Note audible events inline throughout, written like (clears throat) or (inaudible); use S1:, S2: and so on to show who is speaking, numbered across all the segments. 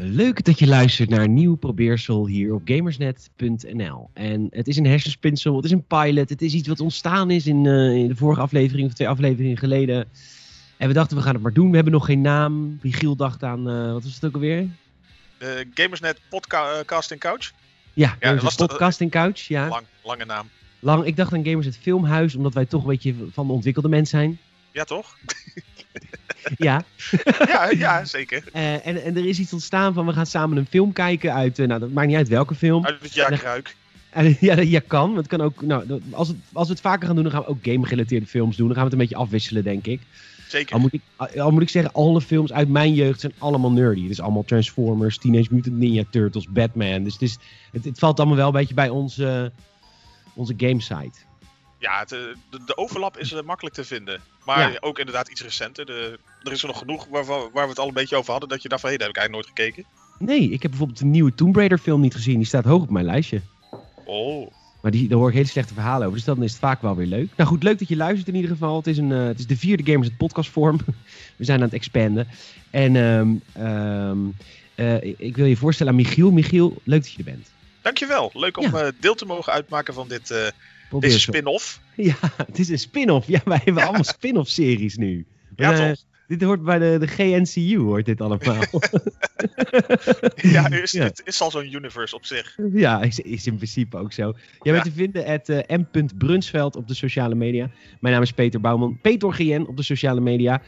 S1: Leuk dat je luistert naar een nieuw probeersel hier op gamersnet.nl. En het is een hersenspinsel, het is een pilot, het is iets wat ontstaan is in, eh, in de vorige aflevering of twee afleveringen geleden. En we dachten, we gaan het maar doen. We hebben nog geen naam. Michiel dacht aan, eh, wat was het ook alweer?
S2: De Eh, Gamersnet podcast en couch.
S1: Ja,
S2: dat
S1: Gamers
S2: was
S1: Net
S2: de-
S1: podcasting couch. Ja.
S2: Lang, lange naam.
S1: Lang, ik dacht aan Gamers het filmhuis, omdat wij toch een beetje van de ontwikkelde mens
S2: (laughs)
S1: zijn.
S2: Ja,
S1: (laughs)
S2: toch?
S1: Ja.
S2: ja, ja, zeker.
S1: Eh, en, en er is iets ontstaan van, we gaan samen een film kijken uit, eh, nou dat maakt niet uit welke film.
S2: Uit het jaarkruik.
S1: En, (laughs) ja, dat ja, kan. Het kan ook, nou, dat- als, het, als we het vaker gaan doen, dan gaan we ook game-gerelateerde films doen. Dan gaan we het een beetje afwisselen, denk ik. Al
S2: Zeker.
S1: moet ik, al moet ik zeggen, alle films uit mijn jeugd zijn allemaal nerdy. Het is allemaal Transformers, Teenage Mutant Ninja Turtles, Batman. Dus het, is, het, het valt allemaal wel een beetje bij onze, onze gamesite.
S2: Ja, het, eh, de, de overlap is eh, makkelijk te vinden. Maar
S1: Ja.
S2: ook inderdaad iets recenter. De, er is er nog genoeg waarvan, waar we het al een beetje over hadden. Dat je dacht van, hé, daar heb ik eigenlijk nooit gekeken.
S1: Nee, ik heb bijvoorbeeld de nieuwe Tomb Raider film niet gezien. Die staat hoog op mijn lijstje.
S2: Oh.
S1: Maar die, daar hoor ik hele slechte verhalen over. Dus dan is het vaak wel weer leuk. Nou goed, leuk dat je luistert in ieder geval. Het is, een, eh, het is de vierde Gamers het podcastvorm. (laughs) We zijn aan het expanden. En ehm, ehm, eh, ik- ik wil je voorstellen aan Michiel. Michiel, leuk dat je er bent.
S2: Dankjewel. Leuk om eh, deel te mogen uitmaken van dit, eh,
S1: Probeer
S2: deze
S1: zo.
S2: spin-off. (laughs)
S1: Ja, (laughs) het is een spin-off. Ja, wij hebben allemaal spin-off series nu.
S2: Ja,
S1: Eh,
S2: toch?
S1: dit hoort bij de, de GNCU, hoort dit allemaal.
S2: (laughs)
S1: (laughs)
S2: Ja, is,
S1: ja.
S2: het is al zo'n universe op zich.
S1: Ja, is, is in principe ook zo. Jij bent te vinden at eh, m.brunsveld op de sociale media. Mijn naam is Peter Bouwman. Peter GN op de sociale media.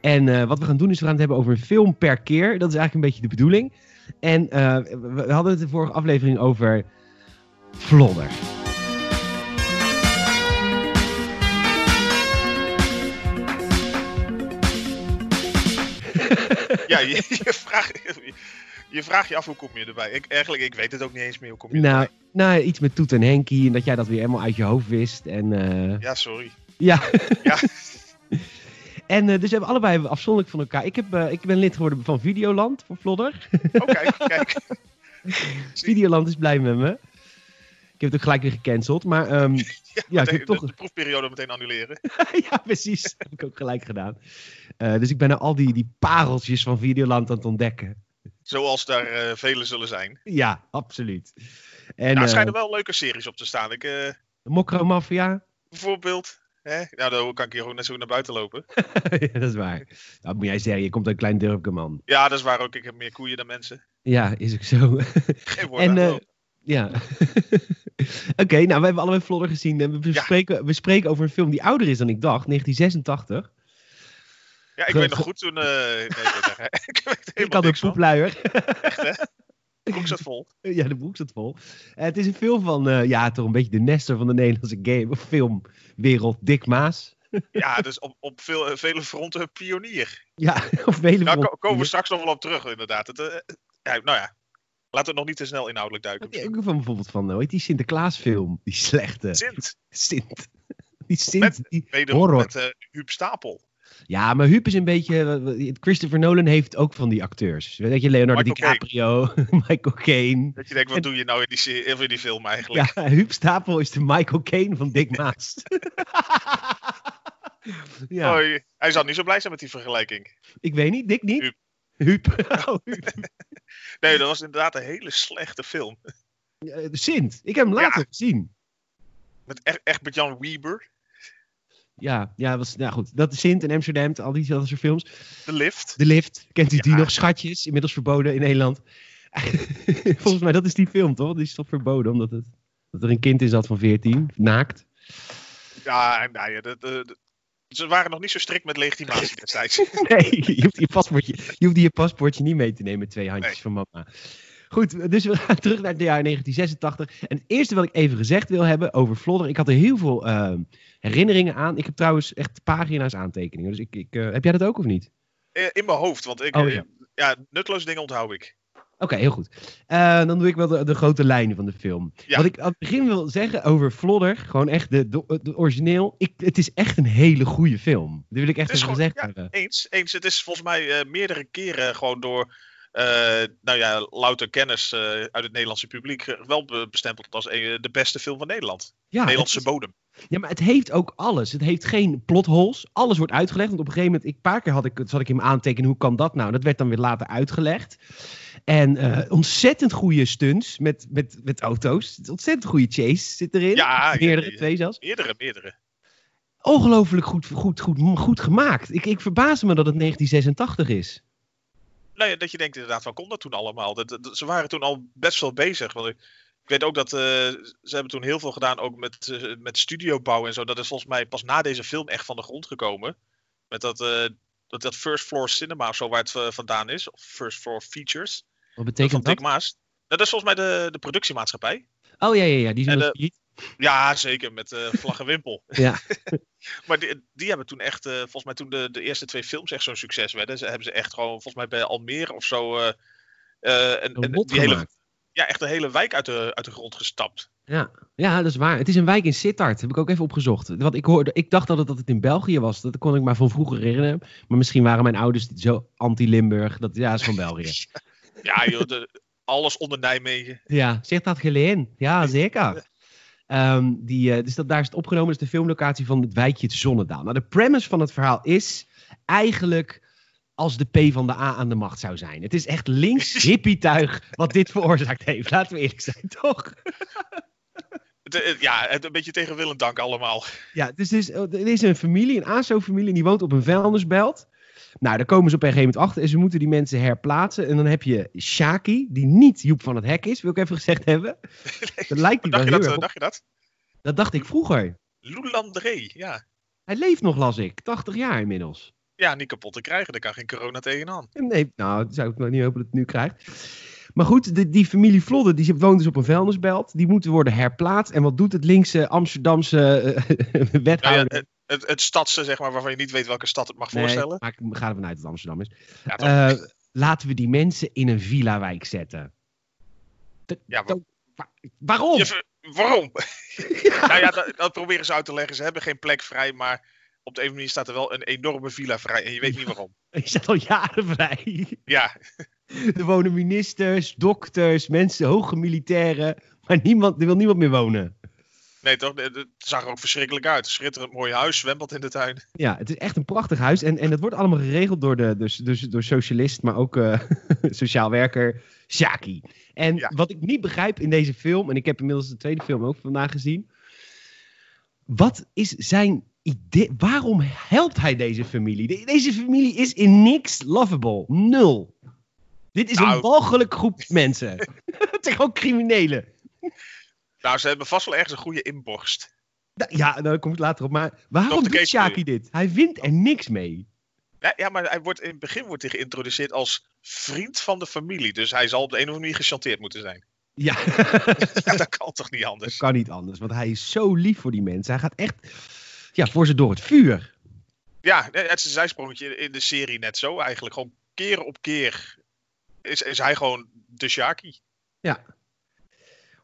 S1: En eh, wat we gaan doen is we gaan het hebben over een film per keer. Dat is eigenlijk een beetje de bedoeling. En eh, we we hadden het de vorige aflevering over Vlodder.
S2: Ja, je, (laughs) je vraagt je, vraagt je af hoe kom je erbij. Ik, eigenlijk, ik weet het ook niet eens meer hoe kom je
S1: Nou,
S2: erbij.
S1: nou, iets met Toet en Henkie. En dat jij dat weer helemaal uit je hoofd wist. En eh,
S2: Ja, sorry.
S1: ja. (laughs)
S2: Ja. (laughs)
S1: En eh, dus we hebben allebei afzonderlijk van elkaar. Ik, heb, eh, ik ben lid geworden van Videoland voor Vlodder.
S2: Oh, kijk, kijk.
S1: Videoland is blij met me. Ik heb het ook gelijk weer gecanceld, maar
S2: (laughs)
S1: ehm, ja, ik
S2: de,
S1: heb
S2: de-
S1: toch...
S2: de proefperiode meteen annuleren.
S1: (laughs)
S2: (laughs)
S1: ja, precies. Dat heb ik ook gelijk gedaan. Eh, dus ik ben nou al die, die pareltjes van Videoland aan het ontdekken.
S2: Zoals daar eh vele zullen zijn.
S1: Ja, absoluut. En
S2: nou,
S1: eh
S2: er schijnen wel leuke series op te staan. Ik, eh,
S1: Mokro Mafia, (laughs)
S2: bijvoorbeeld. Hè? Nou, dan kan ik hier gewoon net zo goed naar buiten lopen.
S1: Ja, dat is waar. Dat moet jij zeggen, je komt uit een klein dorpje, man.
S2: Ja, dat is waar ook. Ik heb meer koeien dan
S1: (laughs)
S2: mensen.
S1: Ja, is ook zo. (laughs)
S2: Geen woord
S1: En
S2: aan
S1: eh,
S2: het
S1: ja. (laughs) Oké, nou, we hebben allebei Flodder gezien. En we, bespreken, we spreken over een film die ouder is dan ik dacht, 1986.
S2: lopen. Ja, ik
S1: ge-
S2: weet nog
S1: ge-
S2: goed toen... eh, nee, ik weet het echt- (laughs) ik
S1: (laughs)
S2: weet
S1: Ik
S2: helemaal
S1: had ook
S2: niks van.
S1: soepluier.
S2: Echt, hè? De broek zat vol.
S1: (laughs) Ja, de broek zat vol. Eh, het is een film van, eh, ja, toch een beetje de nester van de Nederlandse game of filmwereld, Dick Maas.
S2: Ja, dus op, op veel, eh, vele fronten een pionier.
S1: Ja, (laughs) of vele
S2: Daar Nou, ko-
S1: fronten.
S2: komen we straks nog wel op terug, inderdaad. Het, eh, ja, nou ja, laten we nog niet te snel inhoudelijk duiken.
S1: Wat heb je ook van bijvoorbeeld van, eh, hoe heet die Sinterklaasfilm? Die slechte.
S2: Sint,
S1: Sint. (laughs) Die Sint. Die...
S2: wederom
S1: Horror.
S2: met eh Huub Stapel.
S1: Ja, maar Huub is een beetje... eh, Christopher Nolan heeft ook van die acteurs. Weet je, Leonardo
S2: Michael
S1: DiCaprio, (laughs) Michael Caine.
S2: Dat je denkt, wat
S1: En-
S2: doe je nou in die, se- of in die film eigenlijk?
S1: Ja, Huub Stapel is de Michael Caine van Dick
S2: (laughs)
S1: Maas. (laughs) ja,
S2: Oh, je- hij zal niet zo blij zijn met die vergelijking.
S1: ik weet niet, Dick niet.
S2: Huub.
S1: Huub. (laughs) Oh, Huub.
S2: Nee, dat was inderdaad een hele slechte film.
S1: Eh, Sint. Ik heb hem later gezien.
S2: Met echt, echt met Jan Wieber,
S1: Ja, ja was, nou goed. Dat is Sint in Amsterdam, al die dat soort films.
S2: de lift.
S1: De Lift, kent u die
S2: Ja.
S1: nog? Schatjes, inmiddels verboden in Nederland. (laughs) Volgens mij, dat is die film toch? Die is toch verboden, omdat het, dat er een kind in zat van 14,
S2: (laughs)
S1: naakt.
S2: Ja, en nou ja, dat, eh, dat- ze waren nog niet zo strikt
S1: (laughs)
S2: met legitimatie destijds.
S1: Nee, je hoeft je paspoortje, je hoeft je paspoortje niet mee te nemen met twee handjes
S2: Nee.
S1: van mama. Goed, dus we gaan (laughs) terug naar het jaar 1986. En het eerste wat ik even gezegd wil hebben over Vlodder. Ik had er heel veel eh, herinneringen aan. Ik heb trouwens echt pagina's aantekeningen. Dus ik, ik, eh, heb jij dat ook of niet?
S2: Eh, In mijn hoofd, want ik,
S1: Oh,
S2: eh,
S1: ja.
S2: ja. nutteloze dingen onthoud ik.
S1: Oké, heel goed. Eh, dan doe ik wel de, de grote lijnen van de film.
S2: Ja.
S1: Wat ik aan het begin wil zeggen over Vlodder, gewoon echt de, de, de origineel. Ik, het is echt een hele goede film. Dat wil ik echt
S2: Het is
S1: even
S2: gewoon-
S1: gezegd hebben.
S2: Eens, eens. Het is volgens mij eh, meerdere keren gewoon door, eh, nou ja, louter kennis eh, uit het Nederlandse publiek eh, wel be- bestempeld als eh, de beste film van Nederland.
S1: Ja, Ah, het
S2: Nederlandse
S1: is-
S2: bodem.
S1: ja, maar het heeft ook alles. Het heeft geen plotholes. Alles wordt uitgelegd. Want op een gegeven moment, ik, een paar keer had ik, zat ik hem aantekenen, hoe kan dat nou? Dat werd dan weer later uitgelegd. En eh, ontzettend goede stunts met, met, met auto's. Ontzettend goede chase zit erin.
S2: Ja,
S1: Meerdere,
S2: ja, ja.
S1: twee zelfs.
S2: Meerdere, meerdere.
S1: Ongelooflijk goed, goed, goed, goed gemaakt. Ik, ik verbaasde me dat het 1986 is.
S2: Nou ja, dat je denkt inderdaad, wat kon dat toen allemaal? Dat, dat- ze waren toen al best wel bezig. Want ik, ik weet ook dat eh, ze hebben toen heel veel gedaan ook met, eh, met studiobouw en zo. Dat is volgens mij pas na deze film echt van de grond gekomen. Met dat, eh, dat, dat First Floor Cinema of zo waar het eh, vandaan is. Of First Floor Features.
S1: Wat
S2: Dat van
S1: betekent
S2: Dick
S1: dat?
S2: Maas. Nou, dat is volgens mij de, de productiemaatschappij.
S1: Oh ja, ja, ja. Die zijn
S2: En,
S1: nog
S2: eh,
S1: niet.
S2: Ja, zeker, met eh vlag en wimpel.
S1: (laughs) Ja.
S2: (laughs) maar die, die hebben toen echt, eh, volgens mij toen de, de eerste twee films echt zo'n succes werden, ze, hebben ze echt gewoon, volgens mij bij Almere of zo, eh, eh, en, en
S1: Een lot
S2: die hele,
S1: gemaakt.
S2: ja, echt een hele wijk uit de, uit de grond gestapt.
S1: Ja, dat is waar. Het is een wijk in Sittard. Heb ik ook even opgezocht. Want ik, hoorde, ik dacht altijd dat het in België was. Dat kon ik maar van vroeger herinneren. Maar misschien waren mijn ouders zo anti-Limburg. Dat ja, is van België.
S2: Ja, joh, de- alles onder Nijmegen.
S1: Ja, zegt dat geleen. Ja, zeker. Ehm, die, eh, dus dat, daar is het opgenomen, is de filmlocatie van het wijkje het Zonnedaal. Nou, de premise van het verhaal is eigenlijk als de P van de A aan de macht zou zijn. Het is echt links
S2: (laughs)
S1: hippietuig wat dit veroorzaakt heeft. Laten we eerlijk zijn, toch?
S2: Het, eh, ja, het, een beetje tegen Willem Dank allemaal.
S1: (laughs) Ja, dus er is, er is een familie, een ASO-familie, en die woont op een vuilnisbelt. Nou, daar komen ze op een gegeven moment achter en ze moeten die mensen herplaatsen. En dan heb je Shaki, die niet Joep van het Hek is, wil ik even gezegd
S2: (laughs)
S1: hebben. Dat lijkt die wel
S2: Dacht je,
S1: heel erg
S2: dat, eh,
S1: op-
S2: dacht je dat?
S1: Dat dacht ik vroeger.
S2: Loelandré, ja.
S1: Hij leeft nog, las ik. 80 jaar inmiddels.
S2: Ja, niet kapot te krijgen, daar kan geen corona tegenaan.
S1: Nee, nou, zou ik nog niet hopen dat het nu krijgt. Maar goed, de- die familie Vlodder, die woont dus op een vuilnisbelt. Die moeten worden herplaatst. En wat doet het linkse Amsterdamse eh, (laughs)
S2: Nou ja,
S1: wethouder?
S2: het, het, het stadse, zeg maar, waarvan je niet weet welke stad het mag
S1: Nee,
S2: voorstellen.
S1: maar ik ga ervan uit dat het Amsterdam is.
S2: Ja, toch?
S1: Eh, laten we die mensen in een villa-wijk zetten. De-
S2: Ja, wa-
S1: de- wa- waarom?
S2: Je ver- waarom?
S1: Ja.
S2: Nou ja, dat, dat proberen ze uit te leggen. Ze hebben geen plek vrij, maar op de een of andere manier staat er wel een enorme villa vrij. En je weet niet waarom.
S1: (laughs) Ik zat al jaren vrij. (laughs)
S2: Ja,
S1: Er wonen ministers, dokters, mensen, hoge militairen. Maar niemand, er wil niemand meer wonen.
S2: nee toch? Het het zag er ook verschrikkelijk uit. Schitterend mooi huis, zwembad in de tuin.
S1: Ja, het is echt een prachtig huis. En, en dat wordt allemaal geregeld door, de, dus, dus, door socialist, maar ook eh, (laughs) sociaal werker Shaki. En
S2: Ja.
S1: wat ik niet begrijp in deze film, en ik heb inmiddels de tweede film ook vandaag gezien. Wat is zijn idee? Waarom helpt hij deze familie? De- deze familie is in niks lovable. Nul. Dit is
S2: Nou.
S1: een walgelijk
S2: (laughs)
S1: groep mensen. Het zijn gewoon criminelen.
S2: Nou, ze hebben vast wel ergens een goede inborst.
S1: Nou, ja, daar kom ik later op. Maar
S2: Nog
S1: waarom
S2: de
S1: doet
S2: case voor
S1: Shaki dit? Hij wint er niks mee.
S2: Ja, ja, maar hij wordt, in het begin wordt hij geïntroduceerd als vriend van de familie. Dus hij zal op de een of andere manier gechanteerd moeten zijn. (laughs)
S1: Ja. (laughs)
S2: Ja, dat kan toch niet
S1: Dat
S2: anders?
S1: kan niet anders, want hij is zo lief voor die mensen. Hij gaat echt ja, voor ze door het vuur.
S2: Ja, nee, het is een zijsprongetje in de serie net zo eigenlijk. Gewoon keer op keer is, is hij gewoon de Shaki.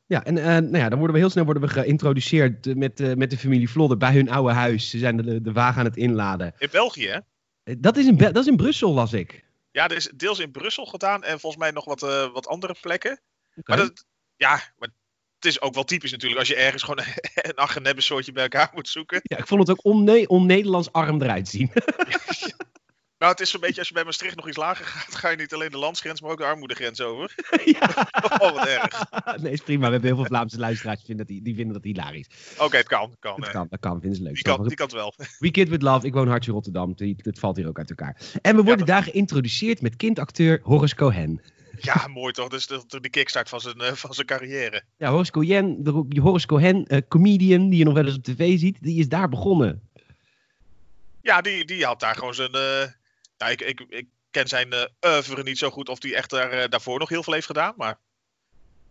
S1: Ja, en eh, nou ja, dan worden we heel snel worden we geïntroduceerd eh, met, eh, met de familie Vlodder bij hun oude huis. Ze zijn de, de wagen aan het inladen.
S2: In België, hè?
S1: Eh, Dat is in, Bel- dat is in Brussel, las ik.
S2: Ja, er is deels in Brussel gedaan en volgens mij nog wat, eh, wat andere plekken.
S1: Oké.
S2: Maar dat, ja, maar het is ook wel typisch natuurlijk als je ergens gewoon (laughs) een agenebbe soortje bij elkaar moet zoeken.
S1: Ja, ik vond het ook onne- on-Nederlands arm eruit zien. (laughs)
S2: Nou, het is zo'n beetje als je bij Maastricht nog iets lager gaat, ga je niet alleen de landsgrens, maar ook de armoedegrens over.
S1: (laughs) ja.
S2: (laughs) Oh, wat erg.
S1: Nee, is prima. We hebben heel veel Vlaamse luisteraars die vinden dat, die, die vinden dat hilarisch.
S2: Oké, het kan. Kan,
S1: Dat
S2: eh.
S1: kan, dat kan. Vinden ze leuk.
S2: Oh, Die kant, die kant wel. (laughs)
S1: We Kid With Love. Ik woon hartje Rotterdam. Die- Het valt hier ook uit elkaar. En we worden
S2: dat-
S1: daar geïntroduceerd met kindacteur Horace Cohen.
S2: Ja, mooi toch? dus Dat is de, de kickstart van zijn, eh, van zijn carrière.
S1: Ja, Horace Cohen, de, die Horace Cohen eh, comedian die je nog wel eens op tv ziet, die is daar begonnen.
S2: Ja, die, die had daar gewoon zijn... eh, nou, ik, ik, ik ken zijn eh oeuvre niet zo goed of die echt daar, eh, daarvoor nog heel veel heeft gedaan, maar...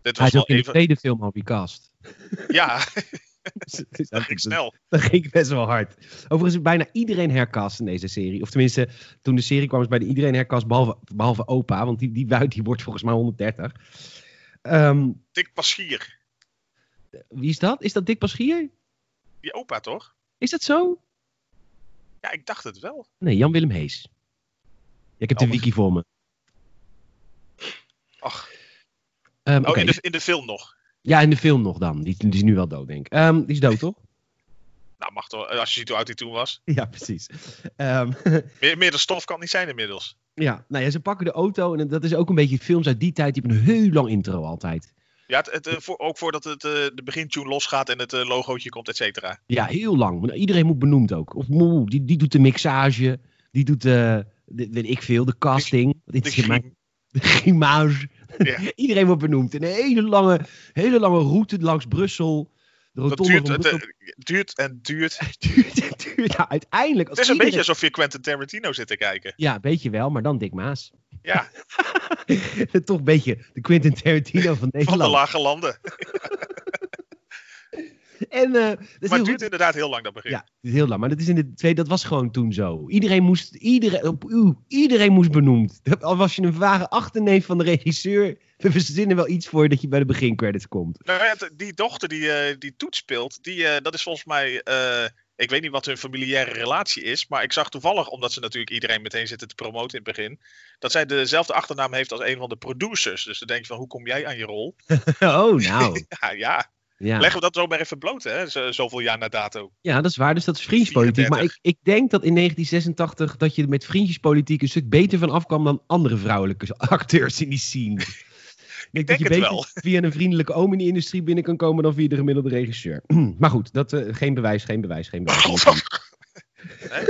S2: Dit
S1: Hij
S2: was
S1: is
S2: wel
S1: ook in de
S2: even...
S1: tweede film al recast.
S2: (laughs) Ja,
S1: Dus (laughs) dat is
S2: dat ging
S1: eigenlijk-
S2: snel.
S1: dat ging best wel hard. Overigens is bijna iedereen herkast in deze serie. Of tenminste, toen de serie kwam is bijna iedereen herkast, behalve, behalve opa. Want die, die, wou- die wordt volgens mij 130. Ehm,
S2: Dick Paschier.
S1: wie is dat? Is dat Dick Paschier?
S2: Die opa, toch?
S1: Is dat zo?
S2: Ja, ik dacht het wel.
S1: Nee, Jan-Willem Hees. Ja, ik heb de
S2: Oh,
S1: wiki voor me.
S2: Ach.
S1: Ehm,
S2: Oh,
S1: Oké,
S2: in, de, in de film nog.
S1: ja, in de film nog dan. Die, die is nu wel dood, denk ik. Ehm, die is dood, (laughs) toch?
S2: Nou, mag toch. Als je ziet hoe oud hij toen was.
S1: Ja, precies. Ehm, (laughs)
S2: Meer, meer de stof kan het niet zijn inmiddels.
S1: Ja, nou ja, ze pakken de auto en dat is ook een beetje films uit die tijd. Die hebben een heel lang intro altijd.
S2: Ja, het, het, eh, voor, ook voordat het, eh, de begintune losgaat en het eh, logootje komt, et cetera.
S1: Ja, heel lang. Want Iedereen moet benoemd ook. Of moe, die, die doet de mixage. Die doet de, de- weet ik veel, de casting. Dit
S2: De
S1: is mijn-
S2: griem.
S1: de grimage.
S2: Ja.
S1: (laughs) Iedereen wordt benoemd. Een hele lange, hele lange route langs Brussel. De
S2: Dat
S1: rotonde
S2: duurt,
S1: van
S2: het,
S1: Brussel.
S2: eh, duurt en duurt.
S1: (laughs) duurt en duurt. Ja, uiteindelijk. als
S2: Het is een
S1: iedereen-
S2: beetje alsof je Quentin Tarantino zit te kijken.
S1: Ja, een beetje wel, maar dan Dick Maas. (laughs)
S2: Ja,
S1: Toch een beetje de Quentin Tarantino van
S2: van de
S1: Nederland.
S2: lage landen.
S1: en, eh, dat is heel
S2: Maar het
S1: goed.
S2: duurt inderdaad heel lang, dat begin.
S1: Ja, dat is heel lang. Maar dat, is in de tweede, dat was gewoon toen zo. Iedereen moest, iedereen, op, oeh, iedereen moest benoemd. (laughs) Al was je een vage achterneef van de regisseur. We verzinnen wel iets voor dat je bij de begincredits komt. (laughs)
S2: Nou ja, t- die dochter die, eh, die Toet speelt, die, eh, dat is volgens mij. eh, ik weet niet wat hun familiaire relatie is. Maar ik zag toevallig, omdat ze natuurlijk iedereen meteen zitten te promoten in het begin. dat zij dezelfde achternaam heeft als een van de producers. Dus dan denk je van: hoe kom jij aan je rol? (laughs)
S1: Oh, nou.
S2: Ja, ja.
S1: Ja.
S2: leggen we dat zo maar even bloot, hè? Zo- zoveel jaar na dato.
S1: ja, dat is waar. Dus dat is vriendjespolitiek. Maar ik,
S2: 34.
S1: ik denk dat in 1986 dat je er met vriendjespolitiek een stuk beter van afkwam dan andere vrouwelijke (laughs) acteurs in die
S2: (laughs)
S1: scene. Ik
S2: denk
S1: dat je
S2: het
S1: beter
S2: wel.
S1: via een vriendelijke oom in die industrie binnen kan komen dan via de gemiddelde regisseur. (clears throat) maar goed, dat, eh, geen bewijs, geen bewijs, geen
S2: Oh,
S1: bewijs.
S2: Hè?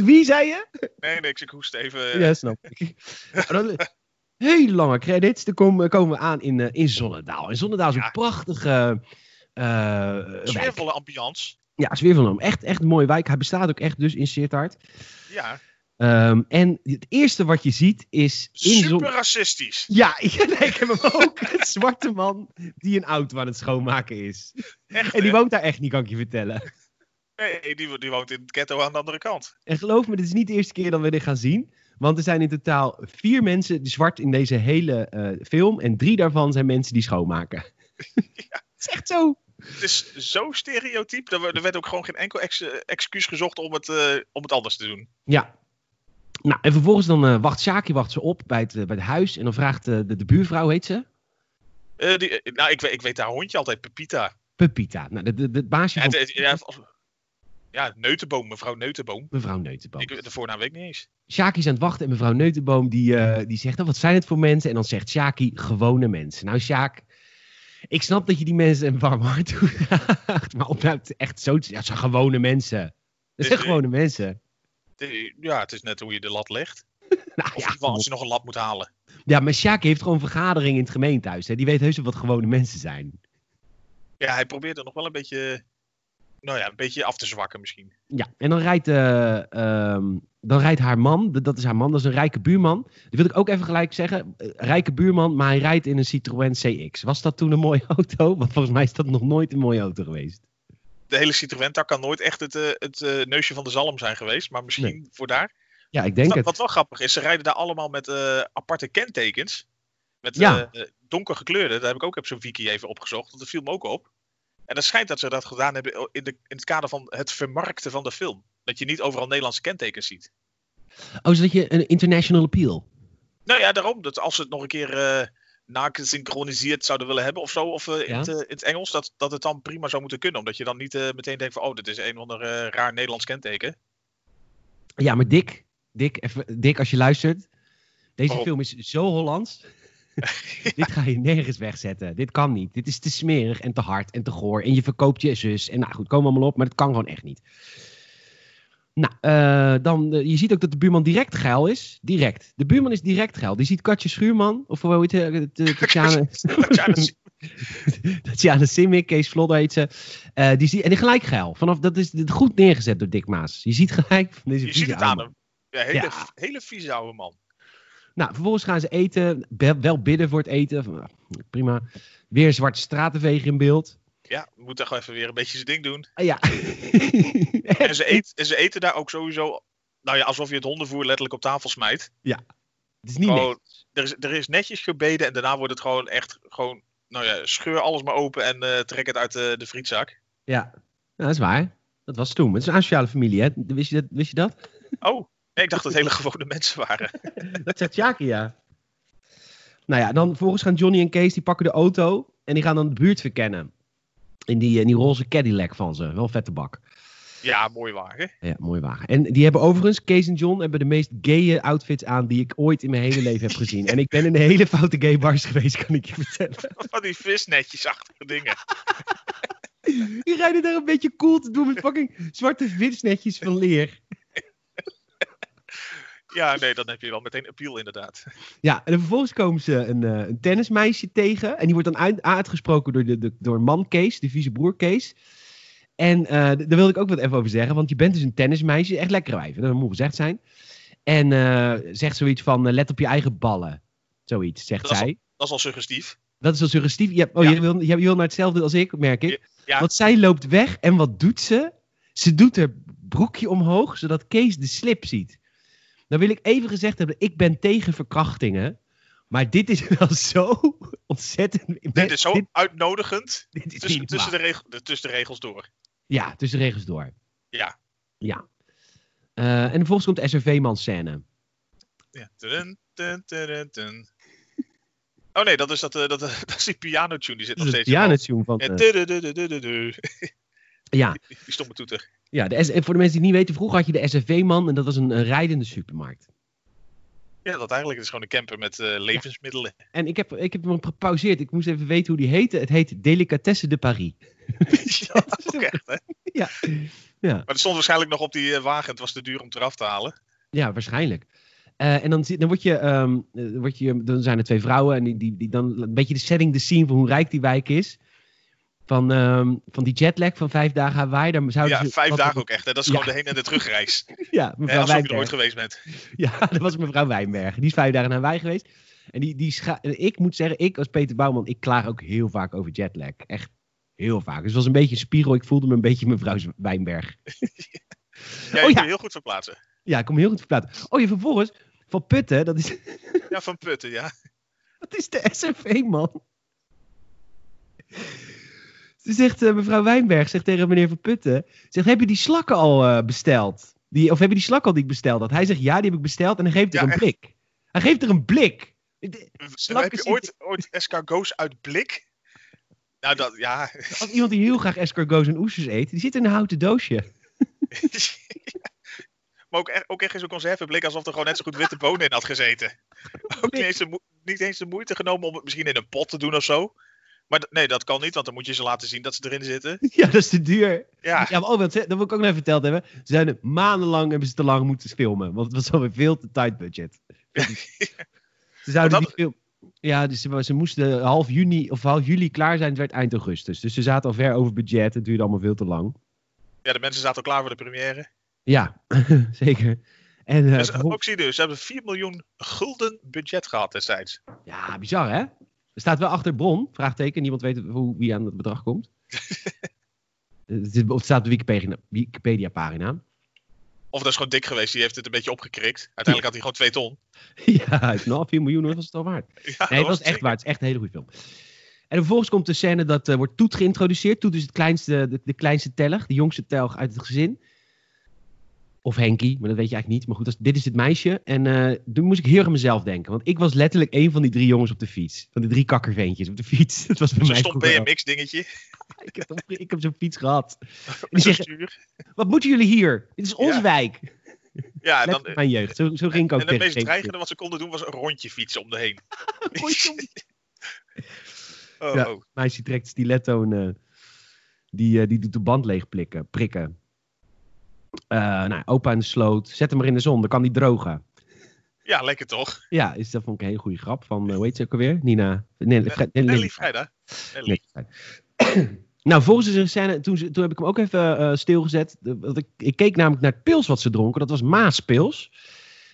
S1: (laughs) Wie zei je?
S2: nee, nee, ik hoest even. eh,
S1: Ja, snap ik. Maar dan- eh, Hele lange credits. Dan kom- komen we aan in, eh, in Zonnedaal. En Zonnedaal is een
S2: Ja.
S1: prachtige eh eh, wijk.
S2: Sfeervolle ambiance.
S1: Ja, Zwitserland. Echt, echt een mooie wijk. Hij bestaat ook echt dus in Sittard.
S2: Ja,
S1: Ehm, en het eerste wat je ziet is... In Zon-
S2: super racistisch.
S1: Ja, (laughs) ja, nee, ik heb hem ook. Een zwarte man die een auto aan het schoonmaken is.
S2: Echt.
S1: En die
S2: hè?
S1: woont daar echt niet, kan ik je vertellen.
S2: Nee, die, wo- die woont in het ghetto aan de andere kant.
S1: En geloof me, dit is niet de eerste keer dat we dit gaan zien. Want er zijn in totaal vier mensen zwart in deze hele eh, film. En drie daarvan zijn mensen die
S2: (laughs)
S1: schoonmaken. Het is echt zo.
S2: Het is zo stereotyp. Er, we- er werd ook gewoon geen enkel ex- eh, excuus gezocht om het, eh, om het anders te doen.
S1: Ja. Nou, en vervolgens dan eh, wacht Sjaki wacht ze op bij het, eh, bij het huis. En dan vraagt eh, de, de buurvrouw, heet ze?
S2: Eh, die, eh, nou, ik, weet- ik weet haar hondje altijd, Pepita.
S1: Pepita. Nou, de, de, de baasje
S2: Ja,
S1: van
S2: het- het- ja, als- ja, Neutenboom, mevrouw Neutenboom.
S1: mevrouw Neutenboom.
S2: Ik, de voornaam weet ik niet eens.
S1: Sjaki is aan het wachten en mevrouw Neutenboom die, eh, die zegt, oh, wat zijn het voor mensen? En dan zegt Sjaki, gewone mensen. Nou Sjaak, ik snap dat je die mensen een warm hart toedraagt. Maar om nou te- echt zo te ja, het zijn gewone mensen. Het zijn
S2: Dus, eh,
S1: gewone mensen.
S2: De- ja, het is net hoe je de lat legt.
S1: Nou,
S2: Of in
S1: ja,
S2: ieder geval als je nog een lat moet halen.
S1: ja, maar Sjaki heeft gewoon vergaderingen in het gemeentehuis. Hè. Die weet heus wel wat gewone mensen zijn.
S2: Ja, hij probeert er nog wel een beetje, nou ja, een beetje af te zwakken misschien.
S1: Ja, en dan rijdt, eh, ehm, dan rijdt haar man, d- dat is haar man, dat is een rijke buurman. Dat wil ik ook even gelijk zeggen. eh, Rijke buurman, maar hij rijdt in een Citroën CX. Was dat toen een mooie (laughs) auto? Want volgens mij is dat nog nooit een mooie auto geweest.
S2: De hele Citroën tak kan nooit echt het, eh, het eh, neusje van de zalm zijn geweest. Maar misschien voor daar.
S1: Ja, ik denk
S2: Wat-
S1: het.
S2: Wat wel grappig is, ze rijden daar allemaal met eh, aparte kentekens. Met
S1: Ja.
S2: eh, eh, donker gekleurde. Daar heb ik ook op zo'n wiki even opgezocht. Want dat viel me ook op. En het schijnt dat ze dat gedaan hebben in, de, in het kader van het vermarkten van de film. Dat je niet overal Nederlandse kentekens ziet.
S1: Oh, zodat je een international appeal.
S2: Nou ja, daarom. Dat als ze het nog een keer eh nagesynchroniseerd zouden willen hebben of zo. Of eh, in,
S1: Ja.
S2: het, eh, in het Engels. Dat, dat het dan prima zou moeten kunnen. Omdat je dan niet eh, meteen denkt van... Oh, dit is een of ander eh, raar Nederlands kenteken.
S1: Ja, maar Dick, Dick, even, Dick als je luistert. Deze
S2: Waarom?
S1: film is zo Hollands. (laughs) Dit ga je nergens wegzetten. Dit kan niet. Dit is te smerig en te hard en te goor. En je verkoopt je zus. En nou goed, komen allemaal op. Maar dat kan gewoon echt niet. Nou, eh, dan, eh, je ziet ook dat de buurman direct geil is. Direct. De buurman is direct geil. Die ziet Katje Schuurman. Of hoe heet eh, het?
S2: (laughs)
S1: Tatjana... (laughs)
S2: Tatjana Simic.
S1: Tatjana Simic, Kees Vlodder heet ze. Eh, die zie, en die gelijk geil. Vanaf, dat is goed neergezet door Dick Maas. Je ziet gelijk... van Deze
S2: Je ziet
S1: vieze
S2: het aan
S1: oude
S2: hem. Ja, hele,
S1: Ja.
S2: hele vieze oude man.
S1: Nou, vervolgens gaan ze eten. Be- wel bidden voor het eten. Van, nou, prima. Weer zwarte stratenveger in beeld.
S2: Ja, moet daar gewoon even weer een beetje zijn ding doen.
S1: Ah, ja. (laughs)
S2: En ze, eet, en ze eten daar ook sowieso. Nou ja, alsof je het hondenvoer letterlijk op tafel smijt.
S1: het is niet
S2: Gewoon-
S1: netjes.
S2: Er is, er is netjes gebeden en daarna wordt het gewoon echt gewoon. Nou ja, scheur alles maar open en eh, trek het uit eh, de frietzak.
S1: Ja, Nou, dat is waar. Dat was toen. Het is een asociale familie, hè? Wist je dat? Wist je dat?
S2: Oh, nee, ik dacht dat het hele gewone (laughs) mensen waren.
S1: dat zegt Sjaki, ja. Nou ja, dan vervolgens gaan Johnny en Kees, die pakken de auto. eh, En die gaan dan de buurt verkennen. In die, in die roze Cadillac van ze. Wel vette bak.
S2: Ja, mooi wagen.
S1: Ja, mooi wagen. En die hebben overigens, Kees en John, hebben de meest gaye outfits aan die ik ooit in mijn hele leven heb gezien. En ik ben in de hele foute gay bars geweest, kan ik je vertellen.
S2: (laughs) Van die visnetjesachtige dingen.
S1: Die rijden daar een beetje cool te doen met fucking zwarte visnetjes van leer.
S2: Ja, nee, dan heb je wel meteen appeal inderdaad.
S1: Ja, en dan vervolgens komen ze een, eh, een tennismeisje tegen. En die wordt dan uit, uitgesproken door, de, de, door man Kees, de vieze broer Kees. En eh, d- daar wilde ik ook wat even over zeggen. Want je bent dus een tennismeisje. Echt lekker wijf, dat moet gezegd zijn. En eh, zegt zoiets van, eh, let op je eigen ballen. Zoiets, zegt
S2: Dat is
S1: zij.
S2: Dat is al suggestief.
S1: Dat is wel suggestief. Je, oh,
S2: Ja.
S1: je, wil, je, je wil naar hetzelfde als ik, merk ik.
S2: Ja.
S1: Want zij loopt weg en wat doet ze? Ze doet haar broekje omhoog, zodat Kees de slip ziet. Dan wil ik even gezegd hebben, ik ben tegen verkrachtingen. Maar dit is (laughs) wel zo ontzettend...
S2: Dit is zo
S1: Dit,
S2: uitnodigend
S1: dit is
S2: tussen,
S1: niet
S2: tussen, de
S1: normaal.
S2: regel, de- tussen de regels door.
S1: Ja, tussen de regels door.
S2: Ja.
S1: Ja. Eh, en vervolgens komt de SRV-man scène.
S2: Ja. Tudun, tudun, tudun, tudun. Oh nee, dat is, dat, eh, dat, eh, (laughs) dat is die pianotune die zit
S1: Dat
S2: nog
S1: is het
S2: steeds. in
S1: pianotune
S2: mijn
S1: van...
S2: hoofd. Ja,
S1: eh,
S2: tududududududu.
S1: ja,
S2: Die stomme toeter.
S1: ja de S- en voor de mensen die het niet weten, vroeger had je de SRV-man en dat was een, een rijdende supermarkt.
S2: Ja, dat eigenlijk het is gewoon een camper met eh, levensmiddelen.
S1: En ik heb, ik heb hem gepauzeerd. Ik moest even weten hoe die heette. Het heet Delicatessen de Paris.
S2: (laughs) Ja, ook echt, hè?
S1: Ja,
S2: Maar het stond waarschijnlijk nog op die eh, wagen. Het was te duur om het eraf te halen.
S1: ja waarschijnlijk. Eh, en dan, zie- dan, word je, ehm, eh, word je, dan zijn er twee vrouwen. En die, die, die dan een beetje de setting, de scene van hoe rijk die wijk is. Van, ehm, van die jetlag van vijf dagen Hawaii. Daar zouden
S2: Ja,
S1: ze- Nou,
S2: vijf
S1: dus wat-
S2: dagen ook echt. Hè? Dat is
S1: Ja.
S2: gewoon de heen- en de
S1: (laughs)
S2: terugreis. Hè,
S1: Ja, mevrouw
S2: alsof je er
S1: Wijnberg.
S2: ooit geweest bent.
S1: Ja, (laughs) dat was mevrouw Wijnberg. Die is vijf dagen naar Hawaii geweest. En die, die scha- en ik moet zeggen, ik als Peter Bouwman, ik klaag ook heel vaak over jetlag. Echt heel vaak. Dus het was een beetje een spiegel. Ik voelde me een beetje mevrouw Wijnberg.
S2: Ja, je
S1: Oh, ja.
S2: kunt je heel goed verplaatsen.
S1: Ja, ik kom heel goed verplaatsen. Oh, je vervolgens van Putten, dat is, (laughs)
S2: Ja, van putten, ja.
S1: dat is de SFV, man. Ze zegt, eh, mevrouw Wijnberg zegt tegen meneer Van Putten, zegt, heb je die slakken al eh, besteld? Die, of heb je die slak al die ik besteld had? Hij zegt, ja, die heb ik besteld en hij geeft
S2: Ja,
S1: er een
S2: echt.
S1: blik. Hij geeft er een blik. Het- Slakken
S2: Heb je
S1: zitten-
S2: ooit, ooit escargots uit blik? Nou, dat, ja.
S1: Als iemand die heel graag escargots en oesters eet, die zit in een houten doosje.
S2: (laughs) maar ook, e- ook echt in zo'n conservenblik alsof er gewoon net zo goed witte bonen in had gezeten. Ook niet eens, de, moe- niet eens de moeite genomen om het misschien in een pot te doen of zo. Maar d- nee, dat kan niet, want dan moet je ze laten zien dat ze erin zitten.
S1: (laughs) Ja, dat is te duur.
S2: Ja,
S1: Ja, maar oh, want ze- dat wil ik ook nog even verteld hebben. Ze zijn maandenlang hebben ze te lang moeten filmen. Want het was alweer veel te tight budget.
S2: (laughs)
S1: ze zouden
S2: Want
S1: die film... Ja, dus ze, ze moesten half juni of half juli klaar zijn. Het werd eind augustus. Dus ze zaten al ver over budget. Het duurde allemaal veel te lang.
S2: ja, de mensen zaten al klaar voor de première.
S1: Ja, (laughs) zeker. En, eh,
S2: Dus, eh,
S1: vervolgens-
S2: ook zie je dus, ze hebben 4 miljoen gulden budget gehad destijds.
S1: Ja, bizar hè? Er staat wel achter bron, vraagteken. Niemand weet hoe, wie aan het bedrag
S2: (laughs)
S1: komt. Eh, Het is- het staat op de Wikipedia- Wikipedia-pagina. (laughs)
S2: Of dat is gewoon dik geweest, die heeft het een beetje opgekrikt. Uiteindelijk had hij gewoon 2 ton. (laughs)
S1: ja, het is nou 4 miljoen, dat was het al waard.
S2: Ja,
S1: Nee,
S2: dat
S1: het was
S2: het
S1: echt
S2: zeker.
S1: waar. Het is echt een hele goede film. En vervolgens komt de scène dat eh, wordt Toet geïntroduceerd. Toet is het kleinste, de, de kleinste telg, de jongste telg uit het gezin. Of Henkie, maar dat weet je eigenlijk niet. Maar goed, dat is- dit is het meisje. En eh toen moest ik heel erg aan mezelf denken. Want ik was letterlijk één van die drie jongens op de fiets. Van die drie kakkerveentjes op de fiets. (laughs) Dat was bij
S2: Zo'n
S1: mij
S2: stom
S1: vroeger ook.
S2: BMX-dingetje.
S1: Ik heb, toch- ik heb zo'n fiets gehad. En die
S2: Zo'n
S1: zeggen,
S2: stuur.
S1: wat moeten jullie hier? Dit is onze
S2: Ja.
S1: wijk.
S2: Ja, en
S1: Letterlijk
S2: dan, eh,
S1: mijn jeugd. Zo, zo ging ik ook
S2: en het
S1: tegen
S2: meest
S1: Geentje.
S2: dreigende wat ze konden doen was een rondje fietsen om de
S1: (laughs)
S2: heen.
S1: Rondje om de
S2: (laughs) Oh,
S1: Ja.
S2: oh.
S1: meisje trekt stiletto en eh, die, eh, die doet de band leegplikken, prikken. Eh, nou, opa in de sloot. Zet hem maar in de zon, dan kan die drogen.
S2: ja, lekker toch?
S1: Ja, is, dat vond ik een hele goede grap van, eh, hoe heet ze ook alweer? Nina. Nee, Fre- nee,
S2: Nelly
S1: Lily.
S2: Vrijdag. Nelly.
S1: Nee, Fre- nou, volgens de scène, toen, ze- toen heb ik hem ook even eh, stilgezet. De- want ik, ik keek namelijk naar het pils wat ze dronken. Dat was Maaspils.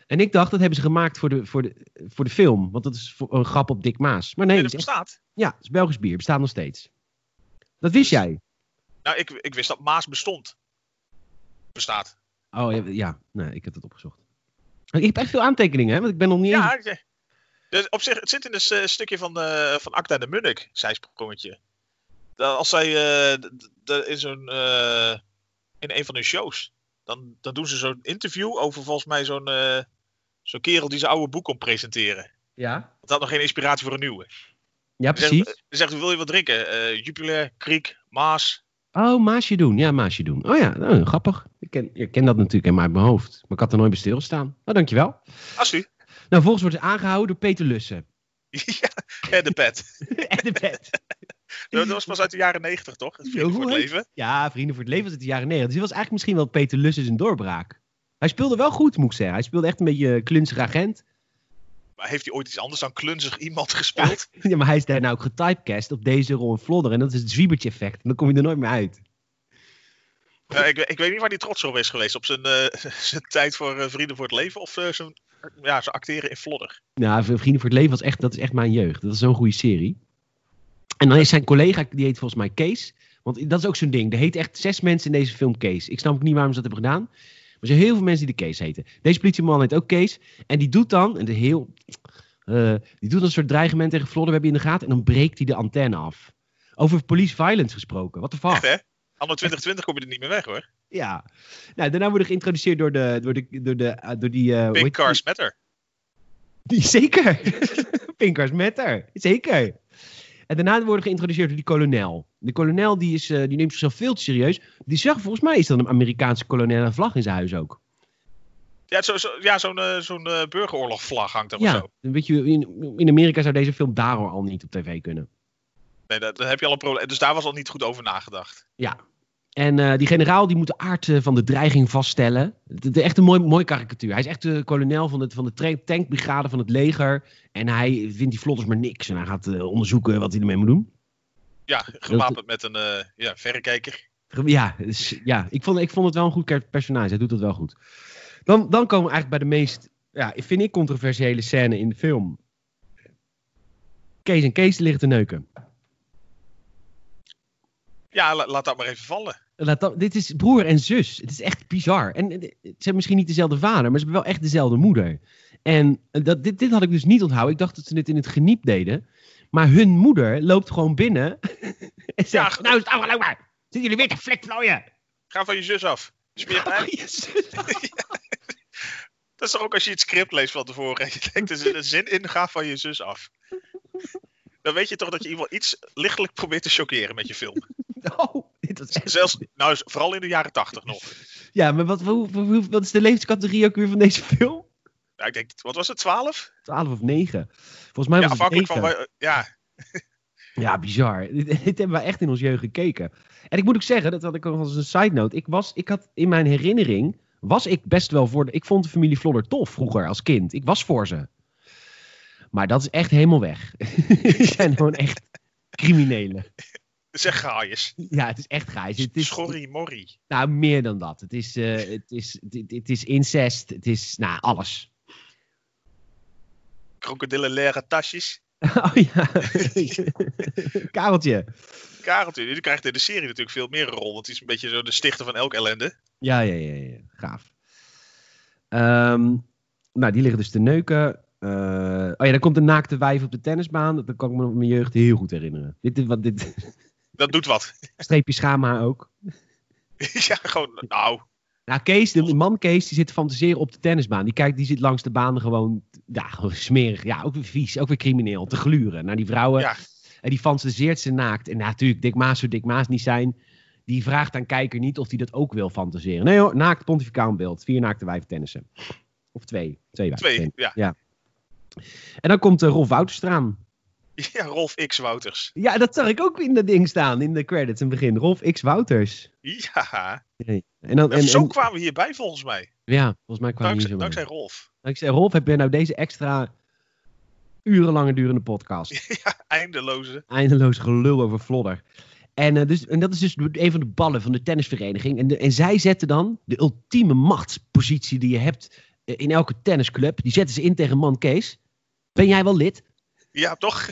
S1: En ik dacht, dat hebben ze gemaakt voor de, voor de, voor de film. Want dat is voor- een grap op Dick Maas. Maar nee,
S2: Nee,
S1: het
S2: dat
S1: is echt-
S2: bestaat.
S1: ja, het is Belgisch bier. Bestaat nog steeds. Dat wist jij?
S2: Nou, ik, ik wist dat Maas bestond. Bestaat.
S1: Oh ja, ja. nee, ik heb dat opgezocht. Ik heb echt veel aantekeningen, hè? Want ik ben nog niet
S2: Ja,
S1: eens.
S2: ik- dus op zich, het zit in een stukje van, eh van Acta en de Munnik, zijsprongetje. Dat Als zij eh, d- d- in zo'n. eh, in een van hun shows. Dan, dan doen ze zo'n interview over volgens mij zo'n. eh, zo'n kerel die zijn oude boek kon presenteren.
S1: Ja,
S2: Want dat had nog geen inspiratie voor een nieuwe.
S1: ja
S2: Hij zegt-
S1: precies.
S2: Hij zegt, wil je wat drinken? Eh Jupiler, Kriek, Maas,
S1: Oh, Maasje doen. Ja, Maasje doen. Oh ja, nou, grappig. Ik ken, ik ken dat natuurlijk helemaal uit mijn hoofd. Maar ik had er nooit bij stilgestaan. Nou, dankjewel.
S2: Als u.
S1: Nou, volgens wordt ze aangehouden door Peter Lussen.
S2: (laughs)
S1: (laughs)
S2: ja, en de pet.
S1: en de pet.
S2: Dat dat was pas uit de jaren negentig, toch? Vrienden
S1: hoe
S2: voor het
S1: heet-
S2: leven.
S1: Ja, Vrienden voor het Leven was uit de jaren 90. Dus die was eigenlijk misschien wel Peter Lussen zijn doorbraak. Hij speelde wel goed, moet ik zeggen. Hij speelde echt een beetje eh, klunzig agent. (laughs)
S2: Maar heeft hij ooit iets anders dan klunzig iemand (laughs) gespeeld?
S1: Ja, maar hij is daarna ook getypecast op deze rol in Vlodder. En dat is het zwiebertje effect. En dan kom je er nooit meer uit.
S2: Ja, Eh, ik, ik weet niet waar hij trots op is geweest. Op zijn, eh, (laughs) zijn tijd voor eh, Vrienden voor het Leven of eh, zijn, ja, zijn acteren in Vlodder.
S1: Nou, Vrienden voor het Leven was echt, dat is echt mijn jeugd. Dat is zo'n goede serie. En dan is zijn collega, die heet volgens mij Kees. Want dat is ook zo'n ding. Er heet echt zes mensen in deze film Kees. Ik snap ook niet waarom ze dat hebben gedaan. Maar er zijn heel veel mensen die de Kees heten. Deze politieman heet ook Kees. En die doet dan, en de heel, eh, die doet een soort dreigement tegen Vlodder. We hebben je in de gaten. En dan breekt hij de antenne af. Over police violence gesproken. Wat de fuck?
S2: Echt, hè? Anno 2020 kom je er niet meer weg, hoor.
S1: Ja. Nou, daarna worden geïntroduceerd door de, door de, door de, eh, door die... eh, hoe
S2: Pink
S1: heet die?
S2: Cars Matter.
S1: Die, zeker. (laughs) Pinkers Matter. Zeker. En daarna worden geïntroduceerd door die kolonel. De kolonel die is, eh, die neemt zichzelf veel te serieus. Die zag, volgens mij is dat een Amerikaanse kolonel een vlag in zijn huis ook.
S2: Ja, zo, zo, ja zo'n eh, zo'n eh, burgeroorlogvlag hangt er wel
S1: Ja,
S2: zo.
S1: een beetje, in, in Amerika zou deze film daarom al niet op tv kunnen.
S2: Nee, dat- dan heb je al een probleem. Dus daar was al niet goed over nagedacht.
S1: Ja. En eh, die generaal die moet de aard eh, van de dreiging vaststellen. Het het- echt een mooi, mooi karikatuur. Hij is echt de kolonel van, het, van de tra- tankbrigade van het leger. En hij vindt die vlotters maar niks. En hij gaat eh, onderzoeken wat hij ermee moet doen.
S2: Ja, gewapend met een eh, ja, verrekijker.
S1: Ja, dus, ja ik, vond, ik vond het wel een goed ker- personage. Hij doet dat wel goed. Dan, dan komen we eigenlijk bij de meest, ja, vind ik, controversiële scène in de film. Kees en Kees liggen te neuken.
S2: Ja, la- laat dat maar even vallen.
S1: Laat dat, dit is broer en zus. Het is echt bizar. En eh, ze hebben misschien niet dezelfde vader, maar ze hebben wel echt dezelfde moeder. En dat, dit, dit had ik dus niet onthouden. Ik dacht dat ze dit in het geniep deden. Maar hun moeder loopt gewoon binnen. (laughs) en zegt,
S2: ge-
S1: nou is het afgelopen. Zitten jullie weer te Oh, flikvlooien?
S2: Ga van je zus af.
S1: (laughs)
S2: Smeerpijn. Dat is toch ook als je het script leest van tevoren en je denkt, er zit een zin in, ga van je zus af. Dan weet je toch dat je iemand iets lichtelijk probeert te choqueren met je film.
S1: Oh, dit was echt...
S2: Zelfs, nou, vooral in de jaren tachtig nog.
S1: Ja, maar wat, hoe- hoe- hoe- wat is de leeftijdscategorie ook weer van deze film?
S2: Ja, Nou, ik denk, wat was het, twaalf?
S1: 12 of 9. Volgens mij
S2: Ja,
S1: was het
S2: afhankelijk van...
S1: 9.
S2: waar- Ja,
S1: Ja, bizar. Dit, dit hebben we echt in ons jeugd gekeken. En ik moet ook zeggen, dat had ik ook als een side note. Ik, was, ik had in mijn herinnering, was ik best wel voor... De, ik vond de familie Vlodder tof vroeger als kind. Ik was voor ze. Maar dat is echt helemaal weg. (laughs) Ze zijn gewoon echt criminelen.
S2: zeg gaaiers.
S1: Ja, het is echt gaai. Het is,
S2: Schorrie morrie.
S1: Nou, meer dan dat. Het is, eh, het is, het, het is incest. Het is, nou, alles.
S2: Krokodillen leren tasjes.
S1: Oh ja. Kareltje.
S2: Kareltje, die krijgt in de serie natuurlijk veel meer een rol. Want die is een beetje zo de stichter van elk ellende.
S1: Ja, ja, ja, ja. gaaf. Ehm, nou, die liggen dus te neuken. Eh, oh ja, dan komt de naakte wijf op de tennisbaan. Dat kan ik me nog uit mijn jeugd heel goed herinneren. Dit, is wat dit (laughs)
S2: Dat doet wat. (laughs)
S1: streepje schaamhaar ook.
S2: ja, gewoon, nou,
S1: Nou, Kees, de man Kees, die zit te fantaseren op de tennisbaan. Die kijkt, die zit langs de baan gewoon, ja, gewoon smerig. Ja, ook weer vies, ook weer crimineel. Te gluren naar die vrouwen.
S2: ja.
S1: En die fantaseert ze naakt. En natuurlijk, Dick Maas zou Dick Maas niet zijn. Die vraagt aan kijker niet of hij dat ook wil fantaseren. Nee hoor, naakt pontificaal in beeld. Vier naakte wijven tennissen. Of twee. Twee wijven
S2: Twee,
S1: tennissen.
S2: ja. (laughs)
S1: En dan komt eh, Rolf Wouters eraan.
S2: Ja, Rolf X. Wouters.
S1: Ja, dat zag ik ook in dat ding staan. In de credits in het begin. Rolf X. Wouters.
S2: Ja, Nou,
S1: En dan, en,
S2: zo
S1: en-
S2: kwamen we hierbij volgens mij.
S1: ja, volgens mij kwam hij
S2: Dankzij,
S1: zo
S2: dankzij
S1: dankzij...
S2: Rolf.
S1: dankzij Rolf heb je nou deze extra urenlange durende podcast.
S2: Eindeloze.
S1: eindeloos gelul over Vlodder. En, eh, dus, en dat is dus een van de ballen van de tennisvereniging. En, de- en zij zetten dan de ultieme machtspositie die je hebt eh, in elke tennisclub. Die zetten ze in tegen man Kees. Ben jij wel lid?
S2: Ja,
S1: (laughs)
S2: toch?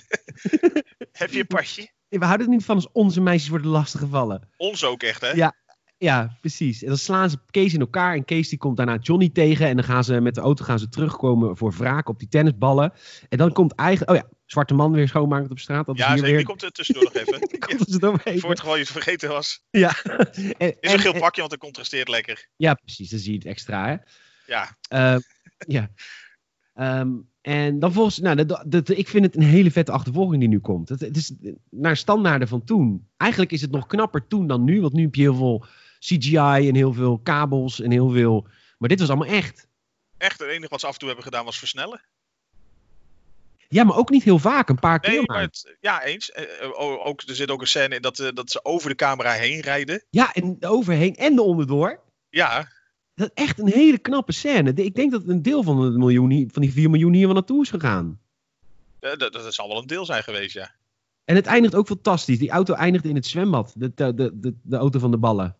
S2: Heb je een pasje?
S1: Eh, We houden er niet van als onze meisjes worden lastiggevallen.
S2: Ons ook echt, hè?
S1: Ja. Ja, precies. En dan slaan ze Kees in elkaar. En Kees die komt daarna Johnny tegen. En dan gaan ze met de auto gaan ze terugkomen voor wraak op die tennisballen. En dan komt eigenlijk... Oh ja, zwarte man weer schoonmaken op straat. Dat is
S2: Ja,
S1: hier
S2: zeker.
S1: weer...
S2: Die komt er tussendoor nog
S1: (laughs)
S2: even. Ja,
S1: komt ze doorheen.
S2: voor het geval je het vergeten was.
S1: Ja. En-
S2: (laughs) Is een
S1: en-
S2: geel
S1: en-
S2: pakje, want het contrasteert lekker.
S1: Ehm, (laughs) Ja, precies. Dan zie je het extra, hè.
S2: Ja.
S1: Eh, ja. Ehm, en dan volgens, nou, dat, dat, ik vind het een hele vette achtervolging die nu komt. Het, het is naar standaarden van toen. Eigenlijk is het nog knapper toen dan nu, want nu heb je heel veel CGI en heel veel kabels en heel veel. Maar dit was allemaal echt.
S2: Echt, het enige wat ze af en toe hebben gedaan was versnellen.
S1: Ja, maar ook niet heel vaak, een paar
S2: Nee,
S1: keer.
S2: maar
S1: maar.
S2: het- ja, eens. Eh, eh, o- ook, er zit ook een scène in dat, eh, dat ze over de camera heen rijden.
S1: Ja, en overheen en onderdoor.
S2: Ja,
S1: Dat is echt een hele knappe scène. De- Ik denk dat een deel van, de miljoen, hier- van die 4 miljoen hier wel naartoe is gegaan.
S2: eh, dat, dat zal wel een deel zijn geweest, ja.
S1: En het eindigt ook fantastisch. Die auto eindigt in het zwembad. De, de, de, de, de auto van de ballen.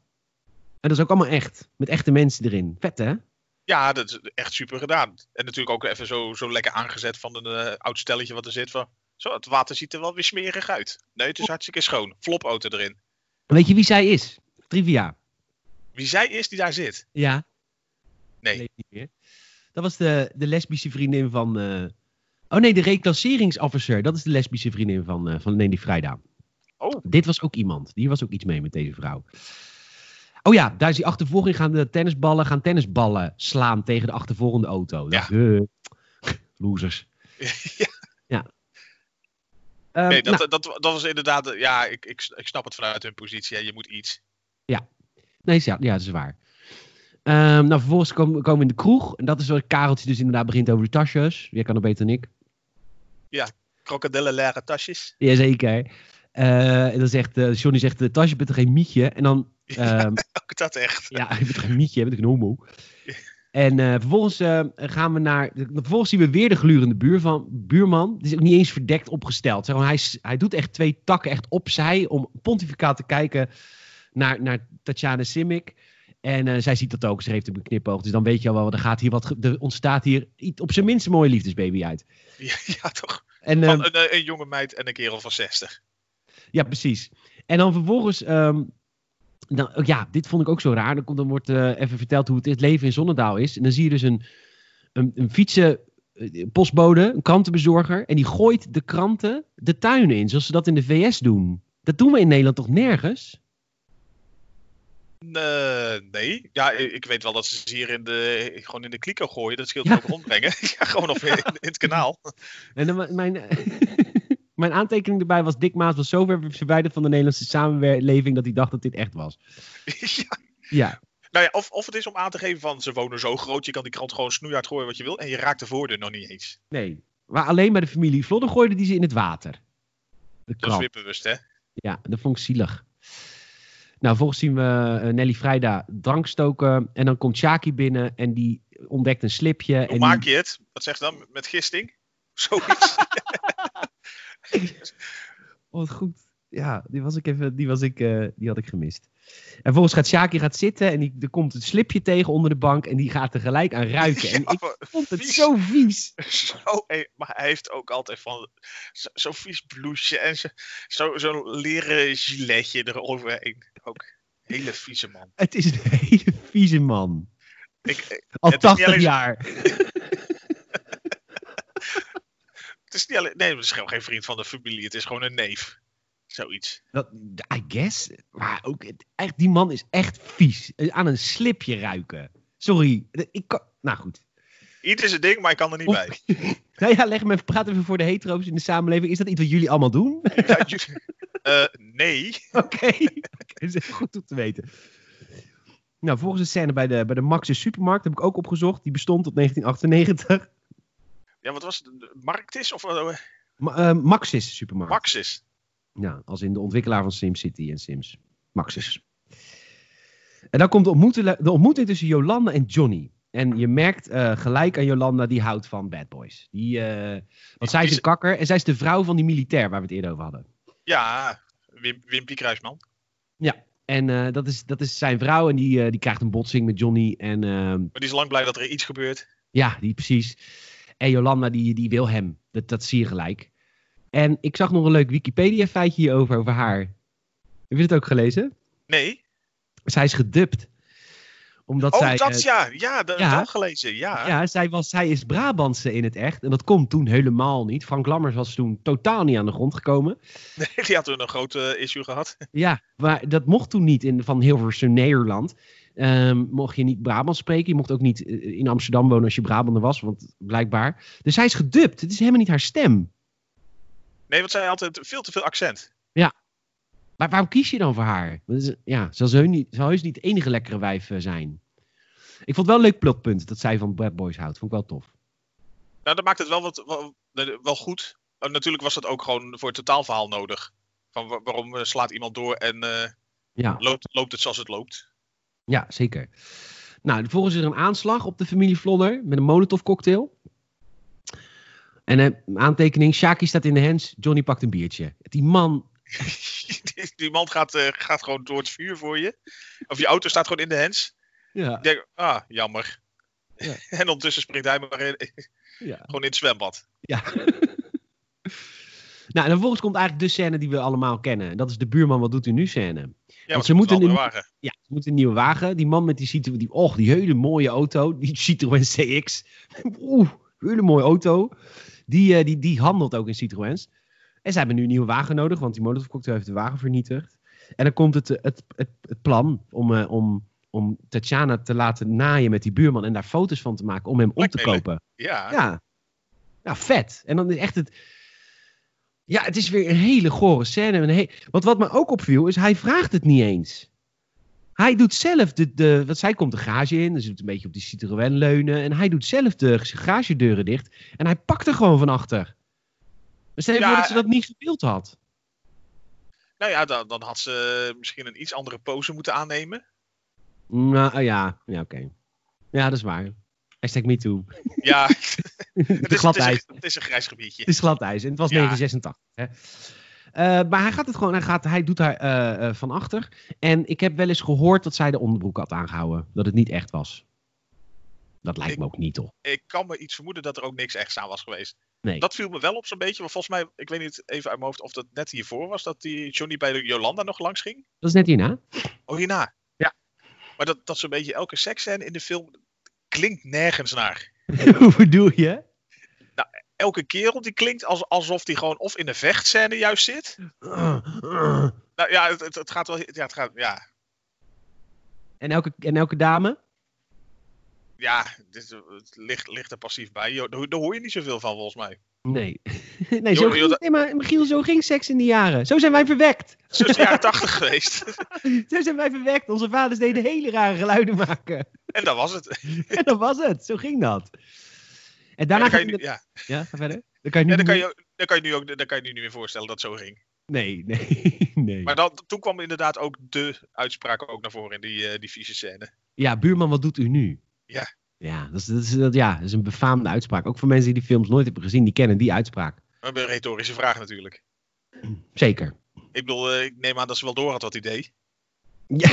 S1: En dat is ook allemaal echt. Met echte mensen erin. Vet, hè?
S2: Ja, dat is echt super gedaan. En natuurlijk ook even zo, zo lekker aangezet van een eh, oud stelletje wat er zit. Van, zo, het water ziet er wel weer smerig uit. Nee, het is hartstikke schoon. Flopauto erin.
S1: Weet je wie zij is? Trivia.
S2: Wie zij is die daar zit?
S1: Ja.
S2: Nee.
S1: Leeft niet meer. Dat was de, de lesbische vriendin van... eh, Oh nee, de reclasseringsofficer. Dat is de lesbische vriendin van, eh van Nelly Vrijda.
S2: Oh.
S1: Dit was ook iemand. Die was ook iets mee met deze vrouw. Oh ja, daar is die achtervolging. Gaan de tennisballen, gaan tennisballen slaan tegen de achtervolgende auto.
S2: Ja.
S1: Dat, eh, losers.
S2: (laughs) Ja,
S1: Ehm,
S2: nee, dat,
S1: nou,
S2: dat, dat was inderdaad. eh, Ja, ik, ik, ik snap het vanuit hun positie. hè. Je moet iets.
S1: nee, ja, ja, dat is waar. Ehm, nou, vervolgens komen komen we in de kroeg. En dat is waar Kareltje dus inderdaad begint over de tasjes. Jij kan het beter dan ik.
S2: Krokodillen, leren tasjes. (laughs)
S1: Jazeker. Eh en dan zegt eh, Johnny zegt, de tasje bent er geen mietje. En dan, ehm,
S2: Ook dat echt.
S1: ja, (laughs) je bent geen mietje, je bent een homo. En eh, vervolgens eh, gaan we naar, vervolgens zien we weer de glurende buurvan, buurman. Het is ook niet eens verdekt opgesteld. Zeg maar, hij, s- hij doet echt twee takken echt opzij om pontificaat te kijken naar, naar Tatjana Simic. En eh, zij ziet dat ook, ze heeft hem een knipoog. Dus dan weet je al wel, er, gaat hier wat, ge- er ontstaat hier iets- op zijn minst een mooie liefdesbaby uit.
S2: Ja, (laughs) ja, toch.
S1: En, ehm,
S2: Van een, eh, een jonge meid en een kerel van 60.
S1: Ja, precies. En dan vervolgens. ehm, dan, oh ja, dit vond ik ook zo raar. Dan, komt, dan wordt eh, even verteld hoe het, het leven in Zonnedaal is. En dan zie je dus een, een, een fietsen. eh, Postbode, een krantenbezorger. En die gooit de kranten de tuinen in. Zoals ze dat in de VS doen. Dat doen we in Nederland toch nergens?
S2: Eh, nee. Ja, ik, ik weet wel dat ze ze hier in de, gewoon in de kliko gooien. Dat scheelt
S1: Ja. (laughs)
S2: ook rondbrengen. (laughs) ja, gewoon of in, in het kanaal.
S1: En dan, mijn, (laughs) mijn aantekening erbij was: Dick Maas was zo ver verwijderd van de Nederlandse samenleving. dat hij dacht dat dit echt was.
S2: (laughs) ja,
S1: Ja,
S2: Nou ja, of, of het is om aan te geven van ze wonen zo groot, je kan die krant gewoon snoeihard gooien wat je wil en je raakt de voordeur nog niet eens.
S1: nee. Maar alleen bij de familie Vlodder gooiden die ze in het water. De
S2: Dat is
S1: krant.
S2: weer bewust, hè?
S1: Ja, dat vond ik zielig. Nou, volgens zien we eh, Nelly Vrijda drank stoken. En dan komt Shaki binnen en die ontdekt een slipje. en
S2: Hoe
S1: die-
S2: maak je het? Wat zeg je dan? Met gisting? (laughs) Zoiets.
S1: Oh, wat goed. Ja, die, was ik even, die, was ik, eh, die had ik gemist. En vervolgens gaat Shaki gaat zitten en die, er komt een slipje tegen onder de bank. En die gaat er gelijk aan ruiken. En
S2: (laughs) Ja,
S1: ik
S2: maar
S1: vond het
S2: vies.
S1: zo vies.
S2: Zo, hé, maar hij heeft ook altijd van zo- zo'n vies blouseje en zo- zo- zo'n leren giletje eroverheen. Ook hele vieze man.
S1: Het is een hele vieze man.
S2: Ik, eh,
S1: Al
S2: Het is niet
S1: 80
S2: alleen-
S1: jaar.
S2: het is niet alleen, nee, het is gewoon geen vriend van de familie, het is gewoon een neef. Zoiets.
S1: Dat, I guess. Maar ook, het- echt, die man is echt vies. Aan een slipje ruiken. Sorry. Ik kan, nou goed.
S2: Ieder is een ding, maar ik kan er niet
S1: Of-
S2: bij.
S1: Nou ja, leg me even, praat even voor de hetero's in de samenleving. Is dat iets wat jullie allemaal doen? (laughs) Oké,
S2: Ja, jullie- (laughs) Eh, nee.
S1: Oké, dat is even goed om te weten. Nou, volgens de scène bij de, bij de Max's supermarkt heb ik ook opgezocht. Die bestond tot 1998.
S2: Ja, wat was het? Marktis of eh,
S1: Ma eh, Max's supermarkt.
S2: Maxis?
S1: Ja, als in de ontwikkelaar van SimCity en Sims. Maxis. En dan komt de ontmoeting, de ontmoeting tussen Jolanda en Johnny. En je merkt eh, gelijk aan Jolanda, die houdt van bad boys. Die, eh, want zij is een kakker en zij is de vrouw van die militair waar we het eerder over hadden.
S2: Ja, Wim, Wimpy Kruisman.
S1: En eh, dat, is, dat is zijn vrouw en die, eh, die krijgt een botsing met Johnny. En ehm,
S2: Maar die is lang blij dat er iets gebeurt.
S1: ja, die precies. En Jolanda, die, die wil hem. Dat, dat zie je gelijk. En ik zag nog een leuk Wikipedia feitje hierover, over haar. Heb je het ook gelezen?
S2: Nee.
S1: Zij is gedubt. Omdat
S2: oh,
S1: zij,
S2: dat
S1: eh,
S2: ja. Ja, dat
S1: ja.
S2: wel gelezen. (laughs) Ja.
S1: ja, zij, was, zij is Brabantse in het echt. En dat komt toen helemaal niet. Frank Lammers was toen totaal niet aan de grond gekomen.
S2: Nee, die had toen een groot eh, issue gehad.
S1: Ja, maar dat mocht toen niet in, van Hilversum Nederland. Ehm, mocht je niet Brabant spreken. Je mocht ook niet eh, in Amsterdam wonen als je Brabander was, want blijkbaar. Dus hij is gedubt. Het is helemaal niet haar stem.
S2: Nee, want zij had altijd veel te veel accent.
S1: Maar waarom kies je dan voor haar? Dat is- Ja, zal ze heus niet, zal heus niet het enige lekkere wijf eh, zijn. Ik vond het wel een leuk plotpunt dat zij van Bad Boys houdt. Vond ik wel tof.
S2: Nou, dat maakt het wel, wat, wel, wel goed. Eh, Natuurlijk was dat ook gewoon voor het totaalverhaal nodig. Van wa- waarom eh, slaat iemand door en eh,
S1: Ja,
S2: loopt, loopt het zoals het loopt. (laughs)
S1: ja zeker. Nou, vervolgens is er een aanslag op de familie Vlodder met een Molotov cocktail. En eh, een aantekening, Shaki staat in de hens, Johnny pakt een biertje. Die man,
S2: Die- Die man gaat, eh, gaat gewoon door het vuur voor je. Of je auto staat gewoon in de hens.
S1: ja, Nou,
S2: Ik denk, ah, jammer.
S1: Ja.
S2: (laughs) En ondertussen springt hij maar in-
S1: ja.
S2: gewoon in het zwembad.
S1: Ja. nou, en dan vervolgens komt eigenlijk de scène die we allemaal kennen. En dat is de buurman, wat doet u nu scène.
S2: Ja, want
S1: ze
S2: ze moeten
S1: moeten
S2: een andere
S1: in-
S2: wagen.
S1: Ja, ze moeten een nieuwe wagen. Die man met die Citroën, die, och, die hele mooie auto. Die Citroën CX. (laughs) Oeh, hele mooie auto. Die, eh, die, die handelt ook in Citroëns. En ze hebben nu een nieuwe wagen nodig, want die Molotov cocktail heeft de wagen vernietigd. En dan komt het, eh, het, het, het plan om, eh, om, om Tatjana te laten naaien met die buurman en daar foto's van te maken om hem op te
S2: Lijkt me leuk.
S1: kopen.
S2: Ja.
S1: Ja. Ja, vet. En dan is echt het... Ja, het is weer een hele gore scène. Een he- Want wat me ook opviel, is hij vraagt het niet eens. Hij doet zelf de... de want zij komt de garage in, dus doet een beetje op die Citroën leunen. En hij doet zelf de garagedeuren dicht. En hij pakt er gewoon van achter. Maar stel je
S2: Ja,
S1: voor dat ze dat niet gewild had.
S2: Nou ja, dan, dan had ze misschien een iets andere pose moeten
S1: (laughs)
S2: aannemen.
S1: Nou, ja, ja oké. Ja, dat is waar. Hashtag me too.
S2: Ja, (laughs) het
S1: Het
S2: is,
S1: glad
S2: het is,
S1: ijs.
S2: een, het is een grijs gebiedje.
S1: Het is glad ijs. En het was
S2: Ja.
S1: 1986. Hè. Eh, maar hij gaat het gewoon, hij, gaat, hij doet haar eh, eh, van achter. En ik heb wel eens gehoord dat zij de onderbroek had aangehouden. Dat het niet echt was. Dat lijkt me ook niet, toch?
S2: Ik kan me iets vermoeden dat er ook niks echt aan was geweest.
S1: Nee.
S2: Dat viel me wel op zo'n beetje. Maar volgens mij, ik weet niet even uit mijn hoofd of dat net hiervoor was. Dat die Johnny bij de Jolanda nog langs ging.
S1: Dat is net
S2: (laughs)
S1: hierna.
S2: Oh, hierna.
S1: Ja.
S2: Maar dat, dat zo'n beetje elke seksscène in de film klinkt nergens naar.
S1: Hoe bedoel je?
S2: Elke kerel die klinkt als, alsof die gewoon of in een vechtscène juist zit. Nou ja, het, het, het gaat wel. Ja, het gaat, ja,
S1: (clears throat) En elke, en elke dame?
S2: ja dit, eh, het ligt, ligt er passief bij. Jo, daar, daar hoor je niet zoveel van, volgens mij.
S1: Nee. (laughs) nee, zo
S2: Joh,
S1: ging,
S2: joh, dat-
S1: nee, maar Michiel, zo ging seks in die jaren. Zo zijn wij verwekt.
S2: Zo is dus de jaren tachtig geweest.
S1: (laughs) Zo zijn wij verwekt. Onze vaders deden hele rare geluiden maken. (laughs)
S2: En dat was het. En
S1: En dat was het. Zo ging dat. En daarna gaat
S2: dan kan je,
S1: hij
S2: nu-
S1: met-
S2: ja,
S1: Ja, ga verder. Dan kan je nu
S2: ja, dan kan
S1: niet-
S2: je, ook- dan kan je nu ook dan kan je nu niet meer voorstellen dat het zo ging.
S1: Nee, (laughs) nee, nee.
S2: Maar dan, toen kwam inderdaad ook de uitspraak ook naar voren in die, eh, die vieze scène.
S1: Ja, buurman, wat doet u nu?
S2: Ja.
S1: Ja dat, is, dat, is, dat, ja, dat is een befaamde uitspraak. Ook voor mensen die die films nooit hebben gezien, die kennen die uitspraak.
S2: Een retorische vraag natuurlijk.
S1: Zeker.
S2: Ik bedoel, eh, ik neem aan dat ze wel door had wat idee.
S1: Ja.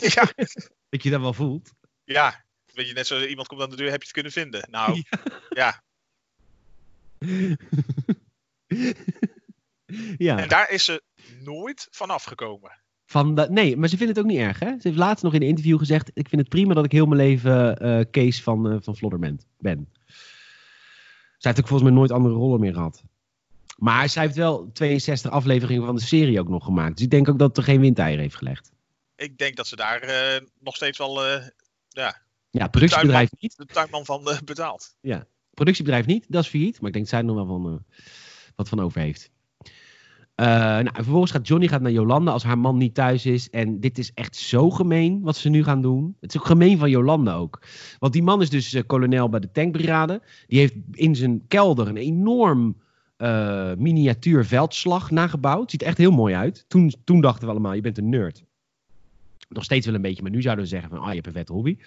S2: ja.
S1: (laughs) Dat je dat wel voelt. (laughs)
S2: ja, weet je, net zo iemand komt aan de deur, heb je het kunnen vinden? Nou,
S1: ja.
S2: en daar is ze nooit van afgekomen.
S1: Van dat, nee, maar ze vindt het ook niet erg, hè? Ze heeft laatst nog in een interview gezegd... ik vind het prima dat ik heel mijn leven eh Kees van, eh van Vlodder ben- ben. Zij heeft ook volgens mij nooit andere rollen meer gehad. Maar zij heeft wel 62 afleveringen van de serie ook nog gemaakt. Dus ik denk ook dat het er geen windeier heeft gelegd.
S2: Ik denk dat ze daar eh, nog steeds wel eh,
S1: Ja, productiebedrijf niet.
S2: de tuinman van eh, betaald.
S1: productiebedrijf niet, dat is failliet. Maar ik denk dat zij er nog wel van, eh, wat van over heeft. Eh, nou, en vervolgens gaat Johnny gaat naar Jolanda als haar man niet thuis is. En dit is echt zo gemeen wat ze nu gaan doen. Het is ook gemeen van Jolanda ook. Want die man is dus eh, kolonel bij de tankbrigade. Die heeft in zijn kelder een enorm eh, miniatuur veldslag nagebouwd. Ziet er echt heel mooi uit. Toen, toen dachten we allemaal, je bent een nerd. Nog steeds wel een beetje, maar nu zouden we zeggen van, ah, je hebt een vet hobby.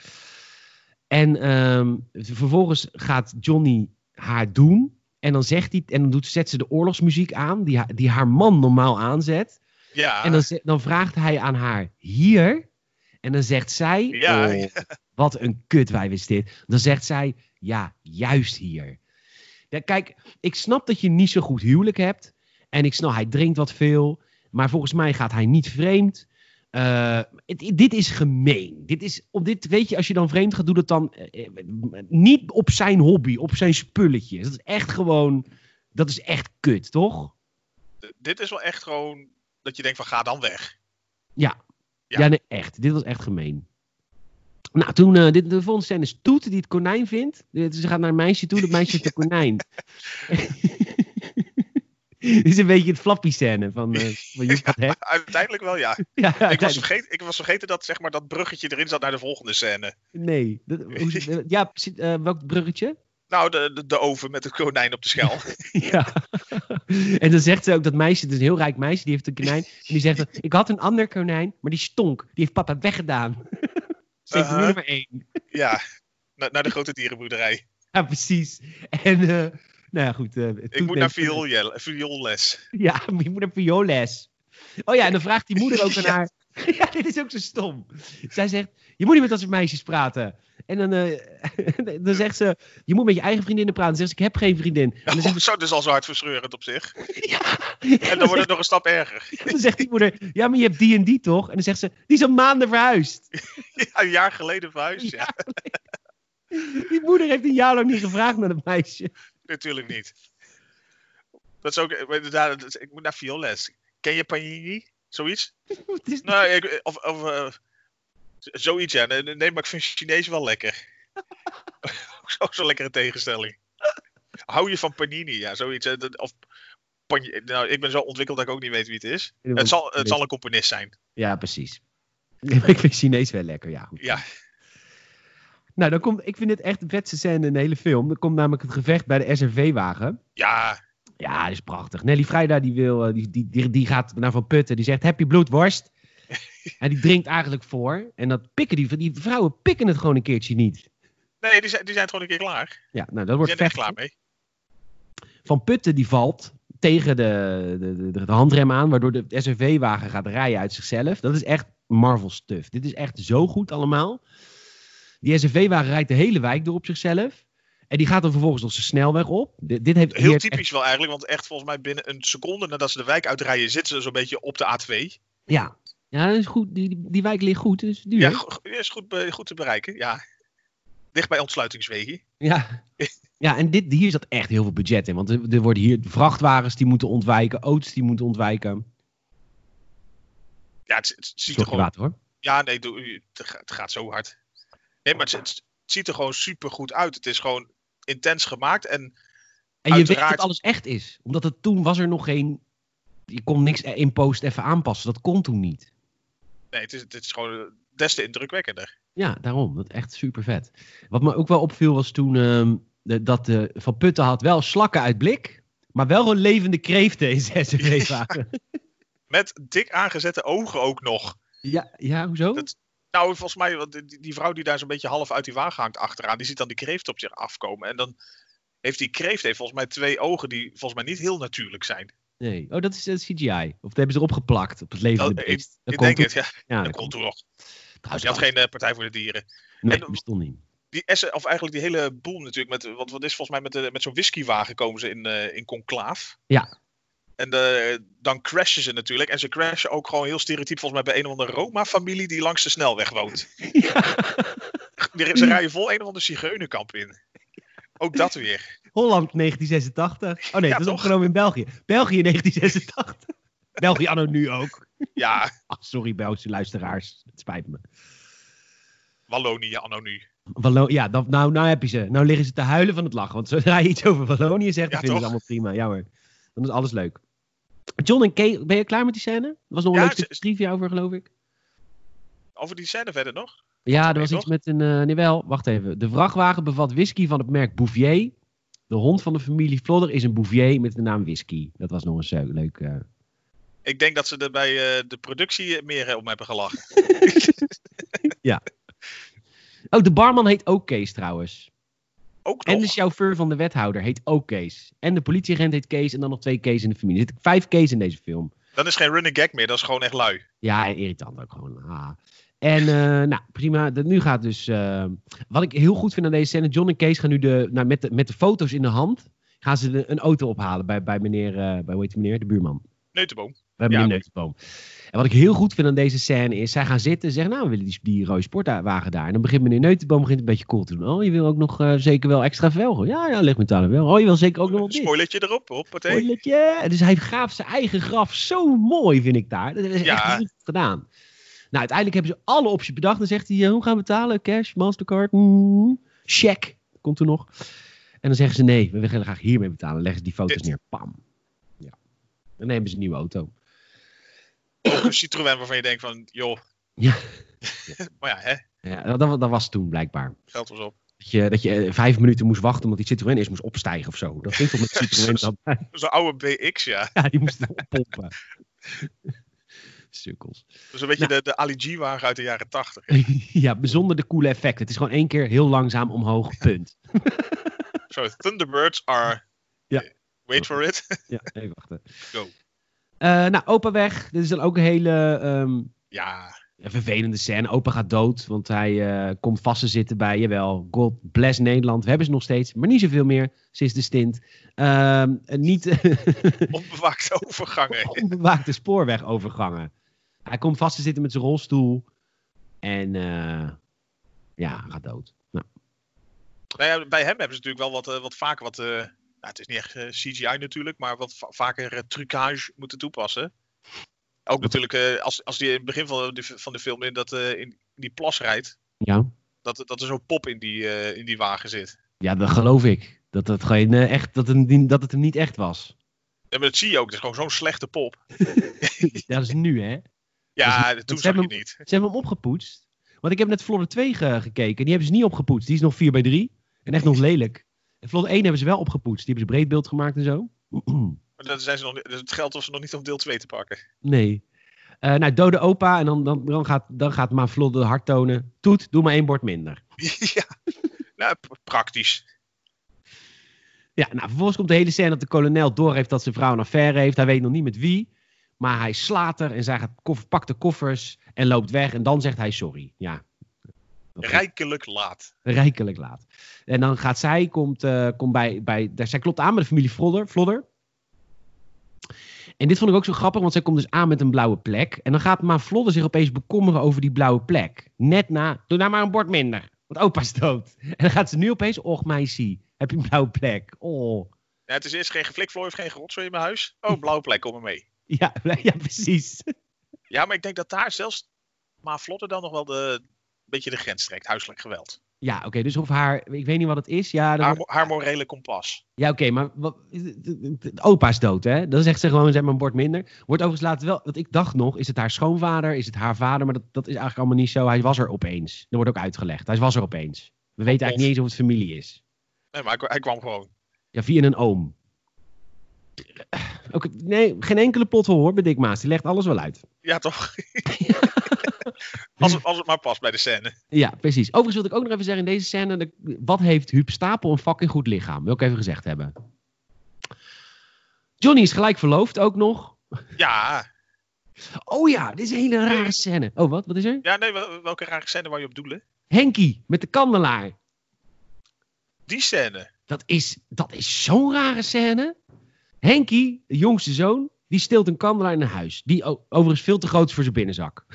S1: En ehm, vervolgens gaat Johnny haar doen. En dan, zegt hij, en dan doet, zet ze de oorlogsmuziek aan, die, ha- die haar man normaal aanzet.
S2: Ja,
S1: En dan, ze- dan vraagt hij aan haar hier. En dan zegt zij,
S2: Ja.
S1: oh, wat een kutwijf is dit. Dan zegt zij, ja, juist hier. Ja, kijk, ik snap dat je niet zo goed huwelijk hebt. En ik snap, hij drinkt wat veel. Maar volgens mij gaat hij niet vreemd. Eh, het- dit is gemeen. Dit is, op dit, weet je, als je dan vreemd gaat, doe dat dan eh, eh, niet op zijn hobby, op zijn spulletje. Dat is echt gewoon, dat is echt kut, toch?
S2: d- dit is wel echt gewoon dat je denkt van ga dan weg.
S1: Ja.
S2: Ja.
S1: Ja, nee, echt. Dit was echt gemeen. Nou, toen, eh, dit, de volgende scène is Toet die het konijn vindt. Eh, Ze gaat naar een meisje toe, dat meisje heeft een konijn. (laughs) Dit is een beetje het flappy scène van, eh van Joep van Hek.
S2: Uiteindelijk wel,
S1: (laughs)
S2: ja.
S1: Ja,
S2: (laughs) Ik was,
S1: uiteindelijk-
S2: vergeten, ik was vergeten dat zeg maar, dat bruggetje erin zat naar de volgende scène.
S1: nee. Dat, hoe, zit- eh, ja, precies, eh, welk bruggetje? (laughs)
S2: Nou, de, de, de oven met het konijn op de schel.
S1: Ja. en dan zegt ze ook dat meisje, het is een heel rijk meisje, die heeft een konijn. En die zegt, dan, ik had een ander konijn, maar die stonk. Die heeft papa weggedaan. (laughs) Ze heeft nu
S2: Uh-huh.
S1: nummer één.
S2: ja, na, naar de grote dierenboerderij.
S1: (laughs) Ja, precies. En, eh, nou ja, goed. eh, Toet
S2: Ik moet
S1: neemt-
S2: naar vioolje- vioolles.
S1: (laughs) Ja, (laughs) maar je moet naar vioolles. Oh ja, en dan vraagt
S2: (laughs)
S1: die moeder ook aan
S2: Ja.
S1: haar... (laughs) Ja, dit is ook zo stom. Zij zegt, je moet niet met dat soort meisjes praten. En dan, eh, (laughs) dan zegt ze, je moet met je eigen vriendinnen praten. Dan zegt ze, ik heb geen vriendin. En dan zegt,
S2: Oh, zo, dus al zo hartverscheurend op zich.
S1: (laughs) ja.
S2: En dan wordt het nog een stap
S1: (laughs)
S2: erger.
S1: dan zegt die moeder, ja, maar je hebt die en die toch? En dan zegt ze, die is al maanden verhuisd.
S2: Ja, een jaar geleden verhuisd, ja.
S1: Die moeder heeft een jaar lang niet gevraagd naar dat meisje. (laughs)
S2: Natuurlijk niet. Dat is ook, eh, maar inderdaad, dat is- ik moet naar vioolles. Ken je Panini? Zoiets?
S1: Het is-
S2: Nou, ik, of, of eh, z- zoiets, ja. Nee, nee, maar ik vind Chinees wel lekker. (laughs) Ook zo- Zo'n lekkere tegenstelling. Hou je van Panini? Ja, zoiets. hè, dat- Of, Pan- nou, ik ben zo ontwikkeld dat ik ook niet weet wie het is. Nou, Het zal, het zal een componist zijn.
S1: Ja, precies. Ik vind Chinees wel lekker, ja. Goed.
S2: Ja,
S1: Nou, dan komt, ik vind dit echt de vetste scène in de hele film. Er komt namelijk het gevecht bij de SRV-wagen.
S2: ja,
S1: Ja, dat is prachtig. Nelly Vrijda die wil, eh, die, die, die, die gaat naar Van Putten. Die zegt, heb je
S2: (laughs)
S1: bloedworst? en die drinkt eigenlijk voor. En dat pikken die, die vrouwen pikken het gewoon een keertje niet.
S2: nee, die zijn, die zijn gewoon een keer klaar.
S1: Ja, nou, dat
S2: Die
S1: wordt
S2: zijn er echt
S1: vecht.
S2: klaar mee.
S1: Van Putten die valt tegen de, de, de, de handrem aan, waardoor de SRV-wagen gaat rijden uit zichzelf. Dat is echt Marvel stuff. Dit is echt zo goed allemaal. Die SRV-wagen rijdt de hele wijk door op zichzelf. En die gaat dan vervolgens nog zijn snelweg op. Dit, dit heeft
S2: Heel
S1: hier echt-
S2: typisch wel eigenlijk, want echt volgens mij binnen een seconde nadat ze de wijk uitrijden, zitten ze zo'n beetje op de A2.
S1: Ja, ja dat is goed. Die, die, die wijk ligt goed. Dus duur.
S2: Ja,
S1: Ja.
S2: go- go- is goed, be- goed te bereiken, ja. Dicht bij ontsluitingswegen.
S1: Ja. en dit, hier zat echt heel veel budget in. Want er, er worden hier vrachtwagens die moeten ontwijken. Auto's die moeten ontwijken.
S2: Ja, het, het ziet er
S1: Sorry,
S2: gewoon...
S1: water hoor.
S2: Ja, nee, doe- het ga- het gaat zo hard. Nee, maar het, het ziet er gewoon super goed uit. Het is gewoon intens gemaakt en
S1: En je weet
S2: Uiteraard.
S1: dat alles echt is. Omdat het toen was er nog geen... Je kon niks e- in post even aanpassen. Dat kon toen niet.
S2: nee, het, is, het is gewoon eh, des te indrukwekkender.
S1: Ja, daarom. Dat is echt super vet. Wat me ook wel opviel was toen... ehm, de- dat de Van Putten had wel slakken uit blik. Maar wel gewoon levende kreeften in
S2: (laughs)
S1: zijn SUV-wagen.
S2: Met dik aangezette ogen ook nog.
S1: Ja, ja, hoezo?
S2: Dat- Nou, volgens mij, want die, die vrouw die daar zo'n beetje half uit die wagen hangt achteraan, die ziet dan die kreeft op zich afkomen. En dan heeft die kreeft heeft volgens mij twee ogen die volgens mij niet heel natuurlijk zijn.
S1: Nee. Oh, dat is eh, CGI. Of dat hebben ze erop geplakt op het levende
S2: Dat- ik-
S1: beest. Dat
S2: Oh, ik
S1: kon
S2: denk
S1: toen-
S2: het,
S1: Ja,
S2: ja. Dat
S1: dat
S2: komt
S1: kon-
S2: toen nog.
S1: trouwens,
S2: Je had geen eh, Partij voor de Dieren.
S1: Nee,
S2: en-
S1: bestond niet.
S2: die essen, of eigenlijk die hele boel natuurlijk. Met, want wat is volgens mij met, de- met zo'n whiskywagen komen ze in, eh in conclaaf.
S1: Ja.
S2: En eh, dan crashen ze natuurlijk. En ze crashen ook gewoon heel stereotyp volgens mij bij een of andere Roma-familie die langs de snelweg
S1: (laughs)
S2: woont. Die- Ze rijden vol een of ander zigeunerkamp in. Ook dat weer.
S1: Holland 1986. Oh nee,
S2: Ja,
S1: dat is
S2: toch?
S1: opgenomen in België. België
S2: (laughs)
S1: 1986. België anno nu ook.
S2: Ja,
S1: Ah, sorry Belgische luisteraars. Het spijt me.
S2: Wallonië anno nu.
S1: Wallo ja, dat, nou, nou heb je ze. Nou liggen ze te huilen van het lachen. Want zodra je iets over Wallonië zegt, dan
S2: Ja,
S1: vinden ze
S2: toch?
S1: allemaal prima. Ja hoor. Dan is alles leuk. John en Kay, ben je klaar met die scène? Er was nog een
S2: Ja,
S1: leuk
S2: ze-
S1: stukje trivia over, geloof ik.
S2: Over die scène verder nog?
S1: Ja, er
S2: erbij,
S1: was iets
S2: toch?
S1: met een. eh nee, wel, wacht even. De vrachtwagen bevat whisky van het merk Bouvier. De hond van de familie Flodder is een Bouvier met de naam Whisky. Dat was nog eens zo leuk. eh.
S2: Ik denk dat ze er bij eh, de productie eh, meer eh, om hebben gelachen.
S1: Oh, de barman heet ook Kees trouwens.
S2: Ook
S1: En dus- de
S2: nog.
S1: chauffeur van de wethouder heet ook Kees. En de politieagent heet Kees. En dan nog twee Kees in de familie. Er zitten vijf Kees in deze film.
S2: Dan is geen running gag meer. Dat is gewoon echt lui.
S1: Ja, en irritant ook gewoon. Ah. En eh, (laughs) nou, prima. De- nu gaat dus... eh, wat ik heel goed vind aan deze scène... John en Kees gaan nu de, nou, met, de, met de foto's in de hand... gaan ze de- een auto ophalen bij, bij meneer... eh, bij, hoe heet die meneer? De buurman.
S2: Neutenboom.
S1: Bij
S2: Ja.
S1: meneer Neusboom. En wat ik heel goed vind aan deze scène is, zij gaan zitten en zeggen, nou, we willen die, die rode sportwagen daar. En dan begint meneer Neutenboom begint een beetje cool te doen. Oh, je wil ook nog eh, zeker wel extra velgen. Ja, ja, leg me talen wel. Oh, je wil zeker ook nog wat dit.
S2: Spoilertje erop. Hoppatee.
S1: Spoilertje. Dus hij graaft zijn eigen graf zo mooi, vind ik daar. Dat is
S2: Ja.
S1: echt goed gedaan. Nou, uiteindelijk hebben ze alle opties bedacht. Dan zegt hij, eh, hoe gaan we betalen? Cash, Mastercard, mm, check. Komt er nog. En dan zeggen ze, nee, we willen graag hiermee betalen. Leggen ze die foto's
S2: Dit.
S1: neer. Pam. Ja. Dan nemen ze een nieuwe auto.
S2: Ook een Citroën waarvan je denkt van, joh.
S1: Ja.
S2: (laughs) maar ja, hè,
S1: Ja, dat, dat dat was toen blijkbaar.
S2: geld was op.
S1: Dat je, dat je eh, vijf minuten moest wachten omdat die Citroën eerst moest opstijgen of zo. Dat ging
S2: (laughs)
S1: toch met de Citroën dan?
S2: Zo'n oude BX, ja.
S1: Ja, die
S2: (laughs)
S1: moest het oppompen. Sukkels.
S2: Dus een beetje de, de Ali G-wagen uit de jaren 80.
S1: (laughs) ja, zonder de coole effecten. Het is gewoon één keer heel langzaam omhoog, punt.
S2: Zo, Thunderbirds are...
S1: Ja.
S2: Wait for it. (laughs)
S1: Ja, even wachten.
S2: Go.
S1: Eh, nou, opa weg. Dit is dan ook een hele ehm,
S2: Ja,
S1: een vervelende scène. Opa gaat dood, want hij eh, komt vast te zitten bij, jawel, God bless Nederland. We hebben ze nog steeds, maar niet zoveel meer sinds de stint. Ehm, en niet
S2: (laughs) onbewaakte overgangen.
S1: (laughs) onbewaakte spoorwegovergangen. Hij komt vast te zitten met zijn rolstoel. En eh, ja, hij gaat dood. Nou,
S2: Nou ja, bij hem hebben ze natuurlijk wel wat, eh, wat vaker wat. eh, nou, het is niet echt eh, CGI natuurlijk, maar wat va- vaker eh, trucage moeten toepassen. Ook natuurlijk, eh, als, als die in het begin van de, van de film in, dat, eh, in, in die plas rijdt,
S1: ja.
S2: dat, dat er zo'n pop in die, eh, in die wagen zit.
S1: ja, dat geloof ik. Dat het, geen, eh, echt, dat, het, dat het hem niet echt was.
S2: En dat zie je ook, het is gewoon zo'n slechte pop.
S1: Ja, dat is nu, hè?
S2: Ja, toen
S1: dat
S2: zag je
S1: hebben-
S2: het niet.
S1: Ze hebben hem opgepoetst. Want ik heb net Flodder 2 ge- gekeken. Die hebben ze niet opgepoetst. Die is nog 4 bij 3. En echt nog lelijk. En Flodder 1 hebben ze wel opgepoetst. Die hebben ze breedbeeld gemaakt en zo. (clears throat)
S2: Maar dat zijn ze nog, niet- het geld was ze nog niet om deel 2 te pakken. (laughs)
S1: Nee. Eh nou, dode opa. En dan, dan, dan, gaat, dan gaat maar Flodder de hart tonen. Toet, doe maar één bord minder. (laughs)
S2: ja, nou, p- praktisch.
S1: Ja, nou, vervolgens komt de hele scène dat de kolonel doorheeft dat zijn vrouw een affaire heeft. Hij weet nog niet met wie. Maar hij slaat er en zij gaat koff- pakt de koffers en loopt weg. En dan zegt hij sorry. Ja. Dat gaat
S2: Rijkelijk laat.
S1: Rijkelijk laat. En dan gaat zij, komt, eh, komt bij, bij, daar, zij klopt aan bij de familie Vlodder. Vlodder. En dit vond ik ook zo grappig, want zij komt dus aan met een blauwe plek. En dan gaat maar Vlodder zich opeens bekommeren over die blauwe plek. Net na, doe nou maar een bord minder, want opa is dood. En dan gaat ze nu opeens, och meisje, heb je een blauwe plek. Oh.
S2: Ja, het is eerst geen geflikvlooi of geen rotzooi in mijn huis.
S1: Hm.
S2: Oh, blauwe plek, kom maar mee.
S1: (laughs) Ja, ja precies.
S2: Ja, maar ik denk dat daar zelfs maar Vlotter dan nog wel de, een beetje de grens trekt, huiselijk geweld.
S1: Ja, oké, dus of haar, ik weet niet wat het is. Ja, dat
S2: Haar,
S1: wordt-
S2: mo- haar morele kompas.
S1: ja oké, maar wat, opa is dood, hè? Dan zegt ze gewoon, zeg maar een bord minder. Wordt overigens later wel, want ik dacht nog, is het haar schoonvader, is het haar vader? Maar dat, dat is eigenlijk allemaal niet zo. Hij was er opeens. Dat wordt ook uitgelegd. Hij was er opeens. We weten eigenlijk niet eens of het familie is.
S2: Nee, maar hij, hij kwam gewoon.
S1: Ja, via een oom. Oké, nee, geen enkele plot hoor bij Dick Maas. Die legt alles wel uit. (laughs)
S2: Ja, toch? als, het, als het maar past bij de scène.
S1: Ja, precies. Overigens wil ik ook nog even zeggen in deze scène. de- wat heeft Huub Stapel een fucking goed lichaam? Wil ik even gezegd hebben. Johnny is gelijk verloofd ook nog.
S2: Ja,
S1: Oh ja, dit is een hele rare scène. Oh, wat? Wat is er?
S2: ja nee, wel- welke rare scène waar je op doelen?
S1: Henkie met de kandelaar.
S2: Die scène.
S1: Dat is, dat is zo'n rare scène. Henkie, de jongste zoon, die steelt een kandelaar in een huis. Die o- overigens veel te groot is voor zijn binnenzak.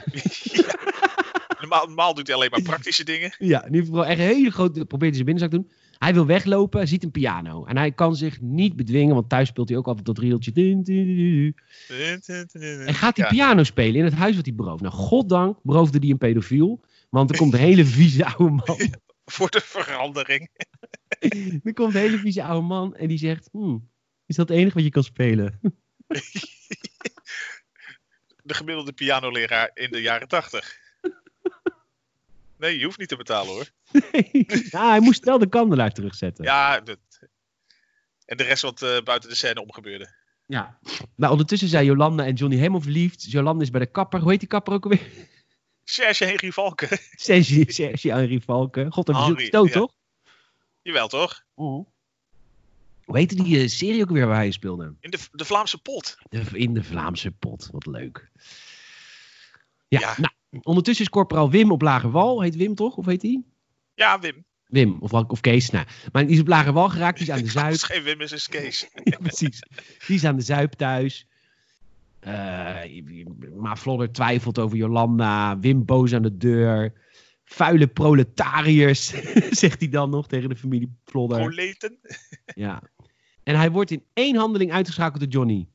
S2: Normaal, normaal doet hij alleen
S1: (laughs)
S2: maar praktische dingen.
S1: Ja, in ieder geval echt een hele grote. Probeert hij zijn binnenzak te doen. Hij wil weglopen, ziet een piano. En hij kan zich niet bedwingen, want thuis speelt hij ook altijd dat rieltje. Dun, dun, dun, dun. En gaat die
S2: Ja.
S1: piano spelen in het huis wat hij berooft. Nou, goddank beroofde hij een pedofiel. Want er komt een hele vieze (laughs) oude man.
S2: (laughs) Voor de verandering.
S1: Er komt een hele vieze oude man en die zegt... "Hmm, is dat het enige wat je kan (laughs) spelen?
S2: De gemiddelde pianoleraar in de jaren tachtig. Nee, je hoeft niet te betalen hoor.
S1: ja, hij moest wel de kandelaar terugzetten.
S2: Ja, dat... en de rest wat eh, buiten de scène omgebeurde.
S1: Ja. Nou, ondertussen zijn Jolanda en Johnny helemaal verliefd. Jolanda is bij de kapper. Hoe heet die kapper ook alweer? (laughs)
S2: Serge Henry Valken. (laughs)
S1: Sergi, Sergi Henri Valken. God, hebben ze
S2: Henri,
S1: gestoot,
S2: ja. Mm.
S1: toch?
S2: Jawel toch?
S1: Hoe heette die eh, serie ook weer waar hij in speelde?
S2: In de, de Vlaamse pot.
S1: De, in de Vlaamse pot. Wat leuk. Ja,
S2: Ja.
S1: nou, ondertussen is corporaal Wim op Lagerwal. Heet Wim toch? Of heet hij?
S2: Ja, Wim.
S1: Wim, of, wel- of Kees. Nou, maar die is op Lagerwal geraakt. Die is
S2: (laughs)
S1: aan de
S2: Als
S1: Zuid.
S2: het geen Wim is, is het Kees.
S1: (laughs) ja, precies. Die is aan de zuip thuis. Eh, maar Flodder twijfelt over Jolanda. Wim boos aan de deur. Vuile proletariërs, (laughs) zegt hij dan nog tegen de familie Flodder.
S2: Proleten.
S1: Ja. En hij wordt in één handeling uitgeschakeld door Johnny.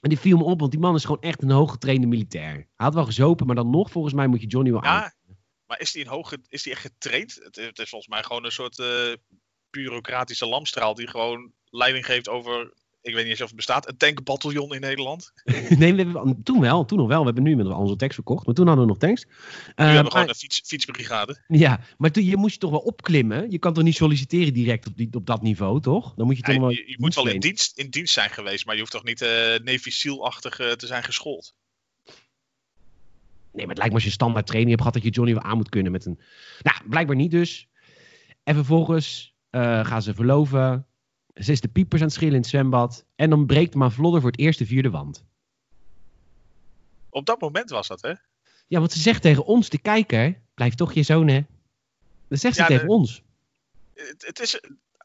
S1: En die viel me op, want die man is gewoon echt een hooggetrainde militair. Hij had wel gezopen, maar dan nog, volgens mij moet je Johnny wel aan. (laughs)
S2: Ja, maar is die, een hoge, is die echt getraind? Het, het is volgens mij gewoon een soort eh, bureaucratische lamstraal die gewoon leiding geeft over, ik weet niet eens of het bestaat, een tankbataljon in Nederland.
S1: Nee, we hebben, toen wel, toen nog wel. We hebben nu inmiddels al onze tanks verkocht, maar toen hadden we nog tanks.
S2: Nu
S1: Eh,
S2: hebben we
S1: maar-
S2: gewoon een fiets, fietsbrigade.
S1: Ja, maar toen, je moest je toch wel opklimmen? Je kan toch niet solliciteren direct op, die, op dat niveau, toch? Dan moet je toch
S2: Nee,
S1: wel...
S2: je, je moet wel in
S1: dienst
S2: dienst, in dienst zijn geweest, maar je hoeft toch niet eh Navy Seal-achtig eh, te zijn geschoold.
S1: Nee, maar het lijkt me als je standaard training hebt gehad dat je Johnny wel aan moet kunnen met een... Nou, blijkbaar niet dus. En vervolgens eh, gaan ze verloven. Ze is de piepers aan het schillen in het zwembad. En dan breekt Ma Vlodder voor het eerst de vierde wand.
S2: Op dat moment was dat, hè?
S1: Ja, want ze zegt tegen ons, de kijker, blijf toch je zoon, hè? Dat zegt ze
S2: Ja,
S1: tegen
S2: de- (laughs)
S1: ons.
S2: Het, het is,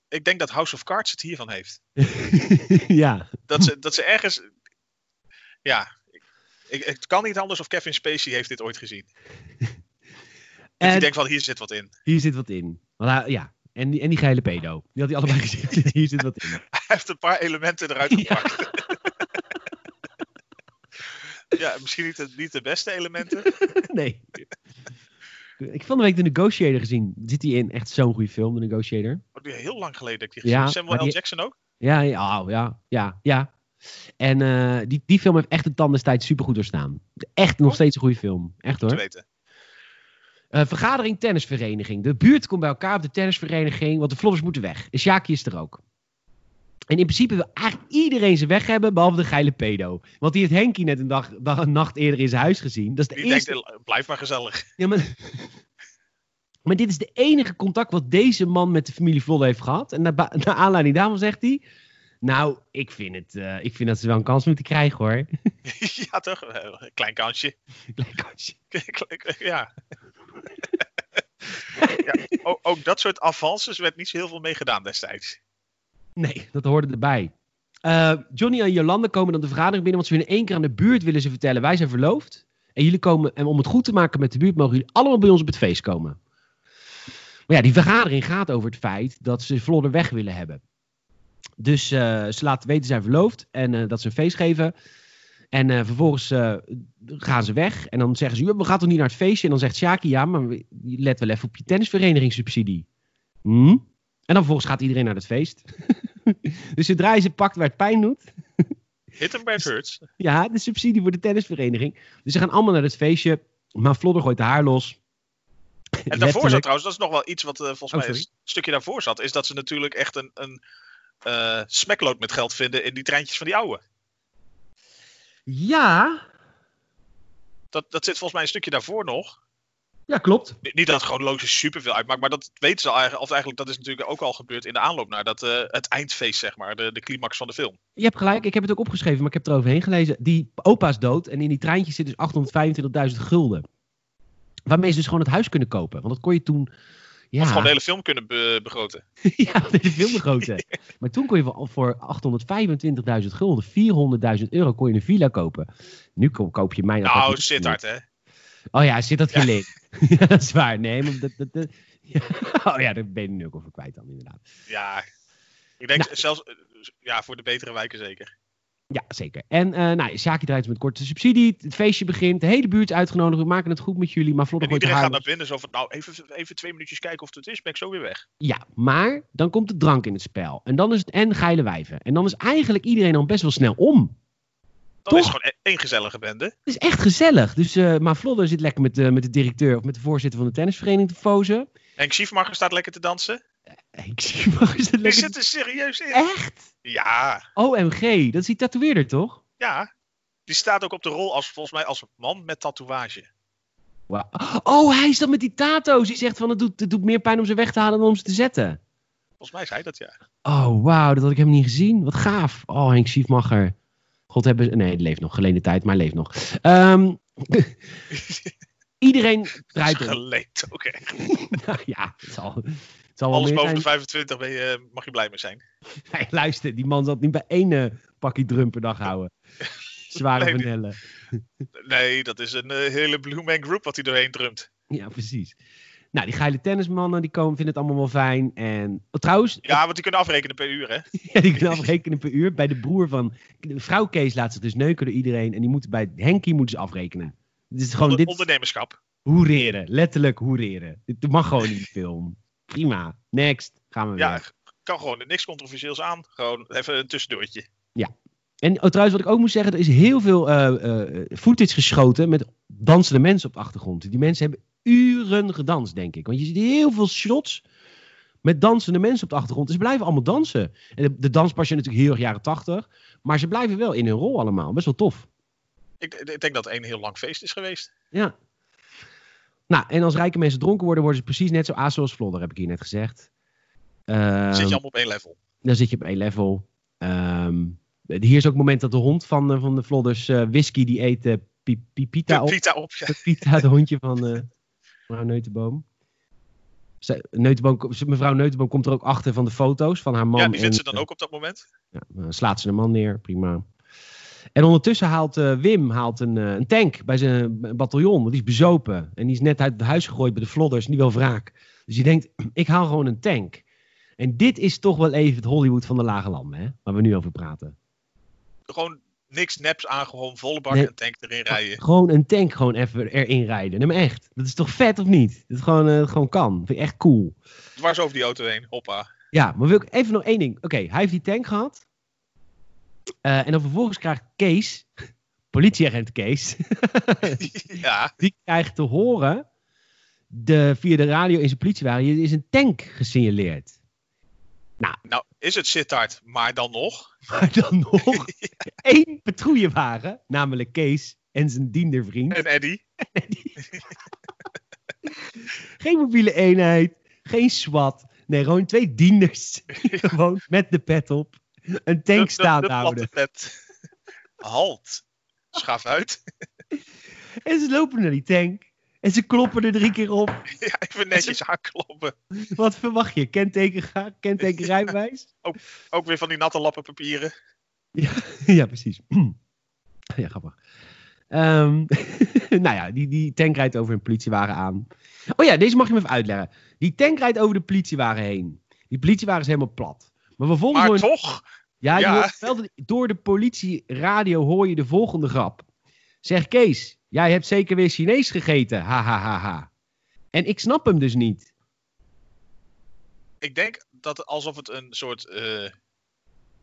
S2: ik denk dat House of Cards het hiervan heeft.
S1: ja.
S2: Dat ze, dat ze ergens. Ja, ik, ik, het kan niet anders of Kevin Spacey heeft dit ooit gezien. En
S1: En
S2: ik denk van hier zit wat in.
S1: hier zit wat in. Want hij- ja. En die, en die geile pedo. Die had hij
S2: (laughs)
S1: allebei gezien. (laughs) hier zit wat in.
S2: Hij heeft een paar elementen eruit
S1: Ja.
S2: gepakt. (laughs) ja, misschien niet de, niet de beste elementen.
S1: nee. Ik heb van de week The Negotiator gezien. Zit die in? Echt zo'n goede film, The Negotiator.
S2: Oh, die heel lang geleden heb ik die gezien.
S1: Ja,
S2: Samuel
S1: maar
S2: L.
S1: die-
S2: Jackson ook?
S1: Ja, ja, oh, ja, ja, ja. En eh, die, die film heeft echt de tand des tijds supergoed doorstaan. Echt nog steeds een goede film. Echt
S2: Te
S1: hoor.
S2: weten.
S1: Eh, vergadering tennisvereniging. De buurt komt bij elkaar op de tennisvereniging, want de flodders moeten weg. En Sjaakje is er ook. En in principe wil eigenlijk iedereen ze weg hebben, behalve de geile pedo. Want die heeft Henkie net een, dag, dag- een nacht eerder in zijn huis gezien. Dat is de
S2: Die
S1: eerste
S2: denkt, eh, blijf maar gezellig. (laughs)
S1: Ja, maar... (laughs) maar dit is de enige contact wat deze man met de familie Vlodder heeft gehad. En naar, ba- (laughs) naar aanleiding daarvan zegt hij... Nou, ik vind, het, eh, ik vind dat ze wel een kans moeten krijgen, hoor. (laughs)
S2: ja, toch? Eh, Klein kansje. (laughs)
S1: Klein kansje.
S2: ja. (laughs) ja ook, ook dat soort avances werd niet zo heel veel mee gedaan destijds.
S1: Nee, dat hoorde erbij. Eh, Johnny en Jolanda komen dan de vergadering binnen... want ze willen één keer aan de buurt willen ze vertellen... wij zijn verloofd. En jullie komen, en om het goed te maken met de buurt... mogen jullie allemaal bij ons op het feest komen. Maar ja, die vergadering gaat over het feit... dat ze Vlodder weg willen hebben. Dus eh, ze laten weten zijn verloofd en eh, dat ze een feest geven. En eh, vervolgens eh, gaan ze weg. En dan zeggen ze, "Ja, we gaan toch niet naar het feestje? En dan zegt Sjaki, ja, maar we- let wel even op je tennisverenigingssubsidie. Hm? En dan vervolgens gaat iedereen naar het feest. dus zodra je ze pakt waar het pijn doet.
S2: Hit and
S1: Dus
S2: Bad Hurts.
S1: Ja, de subsidie voor de tennisvereniging. Dus ze gaan allemaal naar het feestje. Maar Vlodder gooit de haar los.
S2: En daarvoor zat
S1: Letterlijk.
S2: trouwens, dat is nog wel iets wat eh, volgens
S1: Oh,
S2: mij een
S1: sorry.
S2: s- stukje daarvoor zat, is dat ze natuurlijk echt een, een eh, smekloot met geld vinden in die treintjes van die oude.
S1: Ja,
S2: Dat, dat zit volgens mij een stukje daarvoor nog.
S1: ja, klopt.
S2: Niet niet dat het gewoon logisch superveel uitmaakt, maar dat weten ze al eigenlijk, of eigenlijk dat is natuurlijk ook al gebeurd in de aanloop naar dat, eh, het eindfeest, zeg maar, de, de climax van de film.
S1: Je hebt gelijk, ik heb het ook opgeschreven, maar ik heb het eroverheen gelezen. Die opa is dood en in die treintjes zit dus 825.000 gulden. Waarmee ze dus gewoon het huis kunnen kopen. Want dat kon je toen... Ja, (laughs)
S2: Of gewoon de hele film kunnen be- begroten.
S1: ja dat is veel te
S2: (laughs)
S1: groot. maar toen kon je voor- voor 825.000 gulden, 400.000 euro, kon je een villa kopen. Nu ko- koop je mijn...
S2: Nou,
S1: appartement.
S2: zit hard, hè?
S1: Oh ja, zit dat
S2: Ja.
S1: geleend? (laughs) Ja, dat is waar. Nee, maar dat... dat, dat- ja. (laughs) Oh ja, daar ben je nu ook over kwijt dan, inderdaad.
S2: Ja. Ik denk zelfs, eh, ja, voor de betere wijken zeker.
S1: Ja, zeker. En eh nou, Sjaki draait met korte subsidie. Het feestje begint. De hele buurt is uitgenodigd. We maken het goed met jullie. Maar Vlodder
S2: En
S1: gooit
S2: iedereen
S1: haar
S2: gaat naar binnen, zo van, nou, even, even twee minuutjes kijken of het is, ben ik zo weer weg.
S1: Ja, maar dan komt de drank in het spel. En dan is het en geile wijven. En dan is eigenlijk iedereen dan best wel snel om.
S2: Dan is
S1: Toch?
S2: het gewoon e-, één gezellige bende.
S1: Het is echt gezellig. Dus eh maar Vlodder zit lekker met, eh, met de directeur of met de voorzitter van de tennisvereniging te fozen. (laughs)
S2: Henk Schiefmacher staat lekker te dansen.
S1: Eh, Ik zie maar is dat
S2: Die
S1: lekker.
S2: zit er serieus in.
S1: Echt?
S2: Ja,
S1: OMG, dat is die tatoeëerder toch?
S2: ja. Die staat ook op de rol als volgens mij als man met tatoeage.
S1: Wauw. Oh, hij is dan met die tato's. Die zegt van het doet, het doet meer pijn om ze weg te halen dan om ze te zetten.
S2: Volgens mij zei dat ja.
S1: Oh, wauw, dat had ik helemaal niet gezien. Wat gaaf. Oh, Henk Schiefmacher. God hebben... Nee, het leeft nog. Geleende tijd, maar leeft nog. Ehm, (laughs) iedereen draait om.
S2: Geleend ook echt.
S1: Nou (laughs) ja, het zal, het zal wel
S2: Alles
S1: meer
S2: boven de
S1: zijn.
S2: 25 ben je, mag je blij mee zijn.
S1: (laughs) Nee, luister, die man zal het niet bij één eh, pakje drum per dag
S2: (laughs)
S1: houden. Zware
S2: Nee, die-
S1: vanellen.
S2: Nee, dat is een eh, hele Blue Man Group wat hij doorheen drumt.
S1: Ja, precies. Nou, die geile tennismannen die komen, vinden het allemaal wel fijn. En oh, trouwens,
S2: Ja, want die kunnen afrekenen per uur, hè?
S1: (laughs) ja, die kunnen afrekenen per uur. Bij de broer van. Vrouw Kees laat zich dus neuken door iedereen. En die moeten bij Henkie moeten ze afrekenen. Dit is gewoon
S2: Onder-
S1: dit. Oh,
S2: Ondernemerschap.
S1: Hoereren. Letterlijk hoereren. Dit mag gewoon in die film. Prima. Next. Gaan we weer.
S2: Ja, kan gewoon niks controversieels aan. Gewoon even een tussendoortje.
S1: En oh, trouwens, wat ik ook moet zeggen, er is heel veel eh eh, footage geschoten met dansende mensen op de achtergrond. Die mensen hebben uren gedanst, denk ik. Want je ziet heel veel shots met dansende mensen op de achtergrond. En ze blijven allemaal dansen. En de, de danspasje is natuurlijk heel erg jaren tachtig. Maar ze blijven wel in hun rol allemaal. Best wel tof.
S2: Ik, ik denk dat het een heel lang feest is geweest.
S1: Ja. Nou, en als rijke mensen dronken worden, worden ze precies net zo aas als Vlodder, heb ik hier net gezegd. Ehm,
S2: Zit je allemaal op één level.
S1: dan zit je op één level. Ehm, hier is ook het moment dat de hond van, eh, van de Vlodders eh, whisky die eet eh, Pi- Pi- Pita op.
S2: Pita op. ja.
S1: (laughs) Pita, het hondje van eh, mevrouw Neutenboom. Zij- Neutenboom. ko- ze- Mevrouw Neutenboom komt er ook achter van de foto's van haar man.
S2: Ja, die
S1: en,
S2: vindt ze dan ook op dat moment.
S1: eh, ja, dan slaat ze een man neer, prima. En ondertussen haalt eh, Wim haalt een, eh, een tank bij zijn bataljon. Want die is bezopen. En die is net uit het huis gegooid bij de Vlodders. En die wil wraak. Dus je denkt, (clears throat) ik haal gewoon een tank. En dit is toch wel even het Hollywood van de lage landen, hè? Waar we nu over praten.
S2: Gewoon niks neps aangehouden, volle bak
S1: Nee.
S2: en tank erin rijden.
S1: Gewoon een tank gewoon even erin rijden. Nee, maar echt. Dat is toch vet of niet? Dat het gewoon, eh, gewoon kan. Vind ik echt cool.
S2: Dwars over die auto heen,
S1: (laughs)
S2: hoppa.
S1: Ja, maar wil ik even nog één ding. Oké, hij heeft die tank gehad. Eh, en dan vervolgens krijgt Kees, (laughs) politieagent Kees,
S2: ja,
S1: die krijgt te horen de, via de radio in zijn politiewagen, je is een tank gesignaleerd. (laughs)
S2: nou is het Sittard, maar dan nog.
S1: Maar dan nog één patrouillewagen, namelijk Kees en zijn diendervriend.
S2: En Eddy.
S1: Geen mobiele eenheid, geen SWAT. Nee, gewoon twee dienders. gewoon met de pet op. Een
S2: de-
S1: tank
S2: de-
S1: staande
S2: de platte
S1: houden.
S2: pet. Halt. Schaaf uit. (laughs)
S1: En ze lopen naar die tank. En ze kloppen er drie keer op.
S2: Ja, even netjes aankloppen.
S1: Wat verwacht je? Kenteken ga- kenteken rijbewijs?
S2: Ook weer van die natte lappen papieren.
S1: (laughs) ja, precies. (clears throat) ja, grappig. Ehm, (laughs) nou ja, die, die tank rijdt over een politiewagen aan. Oh ja, deze mag je me even uitleggen. Die tank rijdt over de politiewagen heen. Die politiewagen is helemaal plat. Maar vervolgens... hoor
S2: Maar
S1: je-
S2: toch,
S1: ja, je
S2: ja.
S1: hoort wel de- door de politieradio hoor je de volgende grap. Zeg Kees, jij hebt zeker weer Chinees gegeten. Ha, ha, ha, ha. En ik snap hem dus niet.
S2: ik denk dat alsof het een soort eh,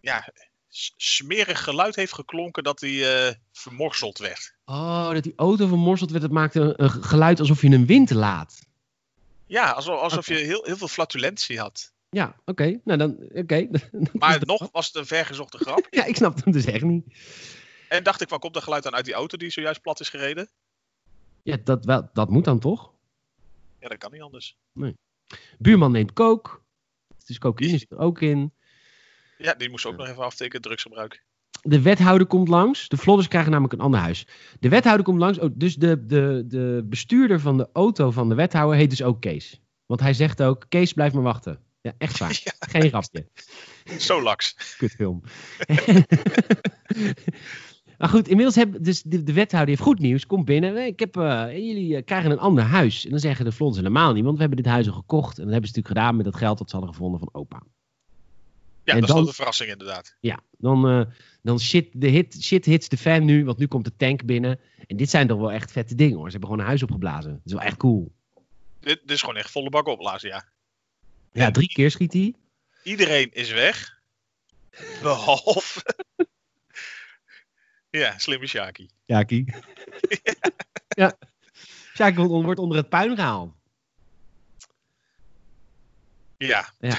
S2: ja, s- smerig geluid heeft geklonken dat hij eh, vermorseld werd.
S1: Oh, dat die auto vermorseld werd. Dat maakte een, een geluid alsof je een wind laat.
S2: Ja, alsof, alsof
S1: Oké.
S2: je heel, heel veel flatulentie had.
S1: Ja, oké. Nou, dan... Oké. (laughs)
S2: Maar nog was het een vergezochte grap.
S1: ja, ik snap hem dus echt niet.
S2: En dacht ik, waar komt dat geluid dan uit die auto die zojuist plat is gereden?
S1: Ja, dat, wel, dat moet dan toch?
S2: Ja, dat kan niet anders.
S1: Buurman neemt kook. Dus cocaïne is er ook in.
S2: Ja, die moest ook nog even aftekenen, drugsgebruik.
S1: De wethouder komt langs. De vlodders krijgen namelijk een ander huis. De wethouder komt langs. Oh, dus de, de, de bestuurder van de auto van de wethouder heet dus ook Kees. Want hij zegt ook, Kees blijf maar wachten. Ja, echt waar.
S2: Ja.
S1: Geen grapje.
S2: Zo laks.
S1: kutfilm. (laughs) maar goed, inmiddels heb dus de, de wethouder heeft goed nieuws. Komt binnen. Eh, Ik heb, eh, jullie eh, krijgen een ander huis. En dan zeggen de Flons helemaal niet, want we hebben dit huis al gekocht. En dat hebben ze natuurlijk gedaan met dat geld dat ze hadden gevonden van opa.
S2: Ja,
S1: En
S2: dat is
S1: dan-
S2: dan een verrassing inderdaad.
S1: Ja, dan, eh, dan shit, de hit, shit hits de fan nu, want nu komt de tank binnen. En dit zijn toch wel echt vette dingen hoor. Ze hebben gewoon een huis opgeblazen. Dat is wel echt cool.
S2: Dit, dit is gewoon echt volle bak opblazen, ja.
S1: Ja, drie keer schiet hij.
S2: Iedereen is weg. Behalve... (laughs) ja, slimme Shaki.
S1: Sjaki. (laughs) ja. Sjaki wordt wordt onder het puin gehaald.
S2: Ja,
S1: (laughs) Ja.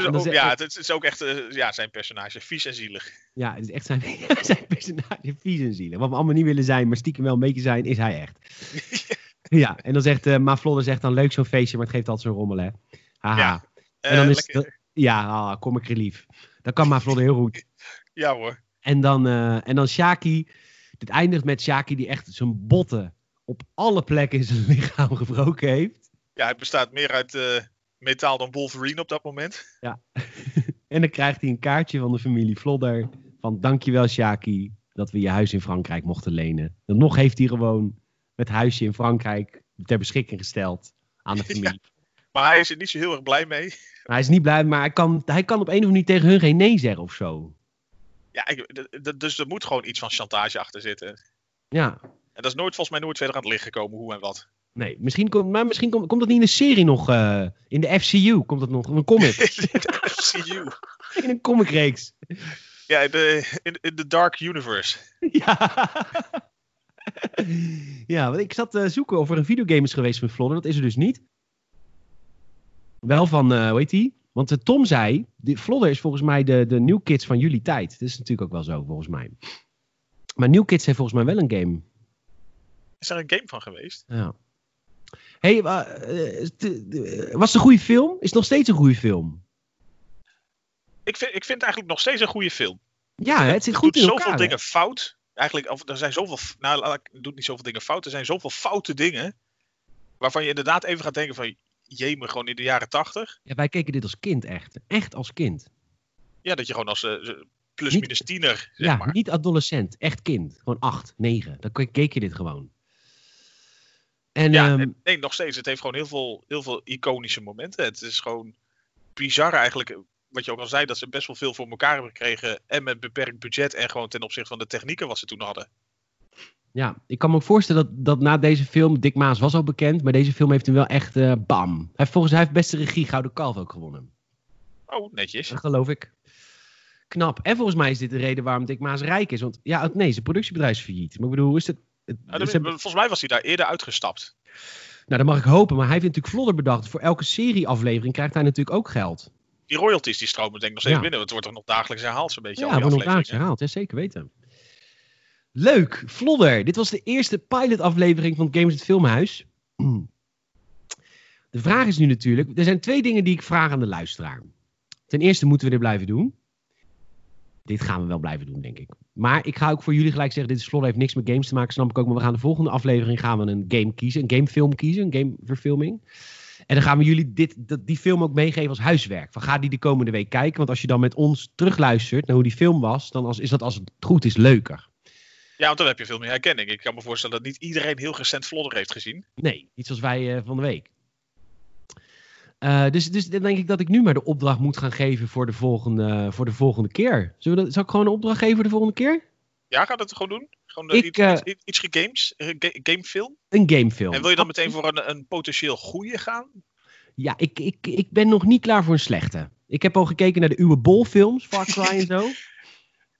S1: ja, en
S2: het is
S1: dan
S2: ook,
S1: zeg-
S2: ja, het is ook echt eh, ja, zijn personage. Vies en zielig.
S1: ja, het is echt zijn, (laughs) zijn personage vies en zielig. Wat we allemaal niet willen zijn, maar stiekem wel een beetje zijn, is hij echt.
S2: (laughs)
S1: ja, en dan zegt eh Ma Flodder zegt dan leuk zo'n feestje, maar het geeft altijd zo'n rommel, hè. Haha.
S2: Ja,
S1: en dan
S2: Eh,
S1: is
S2: lekker-
S1: dat- ja, ah, kom ik relief. Dan kan Ma Flodder heel goed.
S2: Ja hoor.
S1: En dan, eh, en dan Shaki. Dit eindigt met Shaki die echt zijn botten op alle plekken in zijn (laughs) lichaam gebroken heeft.
S2: Ja, het bestaat meer uit eh, metaal dan Wolverine op dat moment.
S1: En dan krijgt hij een kaartje van de familie Vlodder. Van dankjewel Sjaki dat we je huis in Frankrijk mochten lenen. Dan nog heeft hij gewoon het huisje in Frankrijk ter beschikking gesteld aan de familie.
S2: Maar hij is er niet zo heel erg blij mee.
S1: Maar hij is niet blij, maar hij kan, hij kan op een of andere manier tegen hun geen nee zeggen of zo.
S2: Ja, ik- d- d- dus er moet gewoon iets van chantage achter zitten.
S1: Ja,
S2: En dat is nooit, volgens mij nooit verder aan het licht gekomen, hoe en wat. (laughs)
S1: nee. Misschien komt, maar misschien komt, komt dat niet in de serie nog. eh, in de FCU komt dat nog. In een comic.
S2: FCU.
S1: in een comicreeks.
S2: Ja, de, in, in the Dark Universe.
S1: (laughs) ja. ja, want ik zat eh, zoeken of er een videogame is geweest met Flodder. Dat is er dus niet. Wel van, eh hoe heet die? Want eh, Tom zei, die, Flodder is volgens mij de, de New Kids van jullie tijd. Dat is natuurlijk ook wel zo, volgens mij. Maar New Kids heeft volgens mij wel een game.
S2: Is er een game van geweest?
S1: Ja. Hey, wa- eh, t- eh, was het een goede film? Is het nog steeds een goede film?
S2: Ik vind, ik vind het eigenlijk nog steeds een goede film.
S1: Ja, hè, het zit
S2: Er
S1: goed
S2: doet
S1: in
S2: zoveel
S1: elkaar. hè?
S2: dingen fout. Eigenlijk, of, er zijn zoveel. f- Nou, laat ik- het doet niet zoveel dingen fout. Er zijn zoveel foute dingen. Waarvan je inderdaad even gaat denken van. Jemen, gewoon in de jaren tachtig.
S1: Ja, wij keken dit als kind echt. Echt als kind.
S2: Ja, dat je gewoon als eh, plus
S1: Niet-
S2: minus tiener, zeg
S1: ja,
S2: maar.
S1: niet adolescent. Echt kind. Gewoon acht, negen. Dan ke- keek je dit gewoon. En
S2: Ja,
S1: ehm,
S2: en- nee, nog steeds. Het heeft gewoon heel veel, heel veel iconische momenten. Het is gewoon bizar eigenlijk. eh, Wat je ook al zei, dat ze best wel veel voor elkaar hebben gekregen. En met beperkt budget. En gewoon ten opzichte van de technieken wat ze toen hadden.
S1: ja, ik kan me ook voorstellen dat, dat na deze film... Dick Maas was al bekend, maar deze film heeft hem wel echt eh, bam. Hij heeft volgens hij heeft beste regie Gouden Kalf ook gewonnen.
S2: Oh, netjes.
S1: Dat geloof ik. Knap. En volgens mij is dit de reden waarom Dick Maas rijk is. Want ja, het- nee, zijn productiebedrijf is failliet. Maar ik bedoel, hoe is het? het-
S2: Nou,
S1: Dus ze
S2: dat-
S1: hebben-
S2: volgens mij was hij daar eerder uitgestapt.
S1: nou, dat mag ik hopen. Maar hij heeft natuurlijk vlodder bedacht. Voor elke serieaflevering krijgt hij natuurlijk ook geld.
S2: Die royalties die stromen denk ik nog steeds
S1: Ja.
S2: binnen. want Het wordt toch nog dagelijks herhaald zo'n beetje.
S1: Ja,
S2: al die
S1: wordt nog dagelijks
S2: afleveringen.
S1: herhaald. Ja, zeker weten. Leuk. Vlodder. Dit was de eerste pilotaflevering van Games het Filmhuis. Mm. De vraag is nu natuurlijk... Er zijn twee dingen die ik vraag aan de luisteraar. Ten eerste moeten we dit blijven doen. Dit gaan we wel blijven doen, denk ik. Maar ik ga ook voor jullie gelijk zeggen... Dit is Vlodder, heeft niks met games te maken, snap ik ook. Maar we gaan de volgende aflevering gaan we een game kiezen. Een gamefilm kiezen, een gameverfilming. En dan gaan we jullie dit, dat, die film ook meegeven als huiswerk. Van ga die de komende week kijken. Want als je dan met ons terugluistert naar hoe die film was, dan als, is dat als het goed is leuker.
S2: Ja, want dan heb je veel meer herkenning. Ik kan me voorstellen dat niet iedereen heel recent Vlodder heeft gezien.
S1: Nee, niet zoals wij eh, van de week. Eh, dus, dus dan denk ik dat ik nu maar de opdracht moet gaan geven voor de volgende, voor de volgende keer. Zullen we dat, zal ik gewoon een opdracht geven voor de volgende keer?
S2: Ja, gaat het gewoon doen? Gewoon eh,
S1: Ik,
S2: iets,
S1: eh,
S2: iets, iets gegames, eh, ga- gamefilm?
S1: Een gamefilm.
S2: En wil je dan meteen voor een, een potentieel goede gaan?
S1: Ja, ik, ik, ik ben nog niet klaar voor een slechte. Ik heb al gekeken naar de Uwe Bol films, Far Cry en
S2: (laughs)
S1: zo.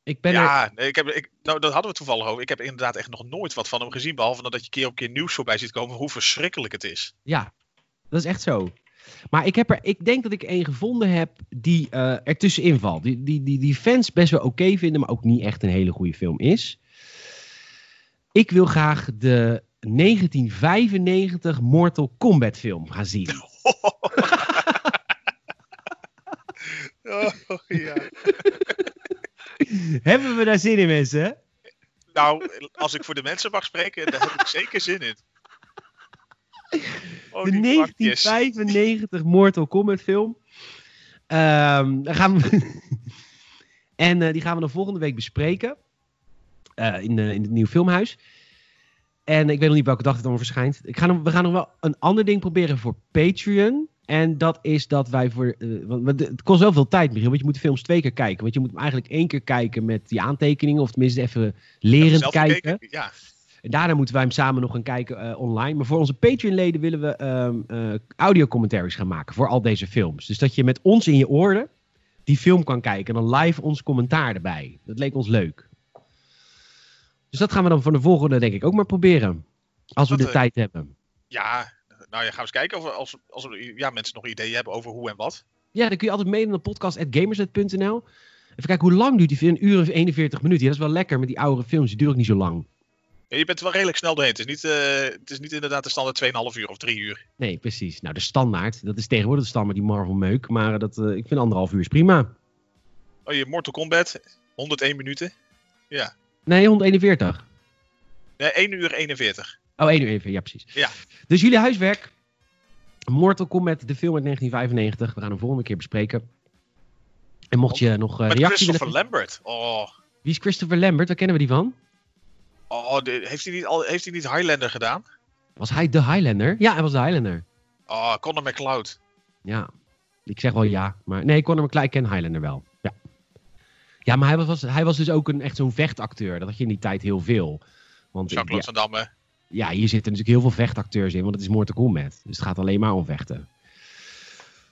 S1: Ik ben er-
S2: ja, nee, ik heb, ik, nou, dat hadden we toevallig over. Ik heb inderdaad echt nog nooit wat van hem gezien. Behalve dat je keer op keer nieuws voorbij ziet komen hoe verschrikkelijk het is.
S1: Ja, dat is echt zo. Maar ik, heb er, ik denk dat ik één gevonden heb die eh ertussenin valt. Die, die, die, die fans best wel oké vinden, maar ook niet echt een hele goede film is. Ik wil graag de 1995 Mortal Kombat film gaan zien.
S2: (laughs) Oh, ja.
S1: (laughs) Hebben we daar zin in, mensen?
S2: Nou, als ik voor de mensen mag spreken, daar heb ik zeker zin in. Oh,
S1: De
S2: die pakjes.
S1: 1995 Mortal Kombat film. Ehm, daar gaan we... (laughs) en eh, die gaan we dan volgende week bespreken. Eh, in, eh, in het nieuwe filmhuis. En ik weet nog niet welke dag het allemaal verschijnt. Ik ga, nog- we gaan nog wel een ander ding proberen voor Patreon. En dat is dat wij voor. eh, want want het kost wel veel tijd, Michiel. Want je moet de films twee keer kijken. Want je moet hem eigenlijk één keer kijken met die aantekeningen. Of tenminste even
S2: Heb je
S1: lerend
S2: zelf
S1: kijken.
S2: gekeken? Ja.
S1: En daarna moeten wij hem samen nog gaan kijken eh, online. Maar voor onze Patreon-leden willen we ehm eh, audiocommentaries gaan maken voor al deze films. Dus dat je met ons in je oren die film kan kijken en dan live ons commentaar erbij. Dat leek ons leuk. Dus dat gaan we dan van de volgende denk ik ook maar proberen. Als we
S2: Dat,
S1: de
S2: eh,
S1: tijd hebben.
S2: Ja, nou ja, gaan we eens kijken of we- als, als we- ja, mensen nog ideeën hebben over hoe en wat.
S1: Ja, dan kun je altijd mailen naar podcast.gamersnet.nl. Even kijken, hoe lang duurt die film? Een uur of 41 minuten. Ja, dat is wel lekker met die oude films. Die duren ook niet zo lang.
S2: Ja, je bent er wel redelijk snel doorheen. Het is niet, eh, het is niet inderdaad de standaard 2,5 uur of 3 uur.
S1: Nee, precies. Nou, de standaard. Dat is tegenwoordig de standaard, die Marvel-meuk. Maar eh, dat, eh, ik vind anderhalf uur is prima.
S2: Oh, je Mortal Kombat, 101 minuten.
S1: Nee, 141.
S2: Nee, 1 uur 41.
S1: Oh, 1 uur even, ja precies.
S2: Ja.
S1: Dus jullie huiswerk. Mortal Kombat, de film uit 1995. We gaan hem volgende keer bespreken. En mocht je nog eh
S2: Met
S1: reactie
S2: Christopher
S1: willen...
S2: Lambert. Oh,
S1: Wie is Christopher Lambert? Waar kennen we die van?
S2: oh de- heeft, hij niet al, heeft hij niet Highlander gedaan?
S1: Was hij de Highlander? Ja, hij was de Highlander.
S2: Oh, Conor McCloud.
S1: Ja. Ik zeg wel ja, maar nee, Conor McCloud, ik ken Highlander wel. Ja, ja maar hij was, was- hij was dus ook een, echt zo'n vechtacteur. Dat had je in die tijd heel veel. Want ja,
S2: Jean-Claude Van Damme.
S1: ja, hier zitten natuurlijk heel veel vechtacteurs in, want het is Mortal Kombat. Dus het gaat alleen maar om vechten.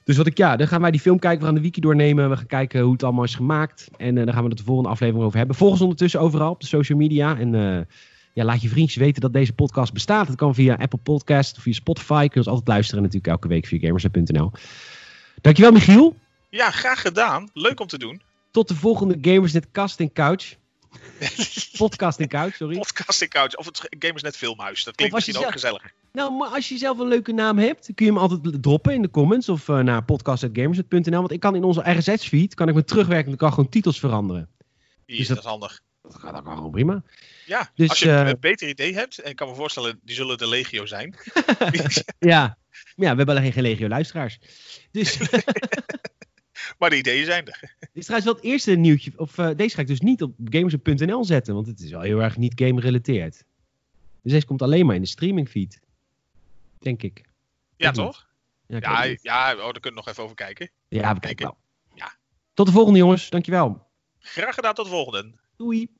S1: Dus wat ik, ja, dan gaan wij die film kijken, we gaan de wiki doornemen, we gaan kijken hoe het allemaal is gemaakt. En eh dan gaan we het de volgende aflevering over hebben. Volg ons ondertussen overal op de social media. En eh, ja, laat je vriendjes weten dat deze podcast bestaat. Dat kan via Apple Podcast of via Spotify. Kun je ons altijd luisteren natuurlijk elke week via gamersnet.nl. Dankjewel Michiel.
S2: Ja, graag gedaan. Leuk om te doen.
S1: Tot de volgende Gamersnet Casting Couch. Podcasting Couch, sorry.
S2: Podcasting Couch of het Gamersnet Filmhuis. Dat klinkt
S1: Of als je
S2: misschien ook gezellig.
S1: Nou, maar als je zelf een leuke naam hebt, kun je hem altijd droppen in de comments of eh, naar podcast.gamers.nl. Want ik kan in onze RSS-feed, kan ik met terugwerkende kracht gewoon titels veranderen.
S2: Hier,
S1: Is dat-
S2: dat... is handig.
S1: Dat gaat ook gewoon prima.
S2: Ja,
S1: Dus,
S2: als je een
S1: eh,
S2: eh, beter idee hebt, en ik kan me voorstellen, die zullen de legio
S1: (laughs)
S2: zijn.
S1: (laughs) Ja, maar ja we hebben alleen geen legio-luisteraars. (laughs) Dus dit
S2: maar de ideeën zijn er.
S1: is trouwens wel het eerste nieuwtje. Of, eh, deze ga ik dus niet op gamers.nl zetten, want het is wel heel erg niet game-gerelateerd. Dus deze komt alleen maar in de streaming-feed. Denk ik.
S2: Ja,
S1: Ik niet.
S2: toch?
S1: Ja, ik
S2: Ja,
S1: weet het
S2: ja oh, daar kunnen we nog even over kijken.
S1: niet. ja we kijken
S2: denk
S1: wel.
S2: Ja.
S1: Tot de volgende, jongens. Dankjewel.
S2: Graag gedaan, tot de volgende.
S1: Doei.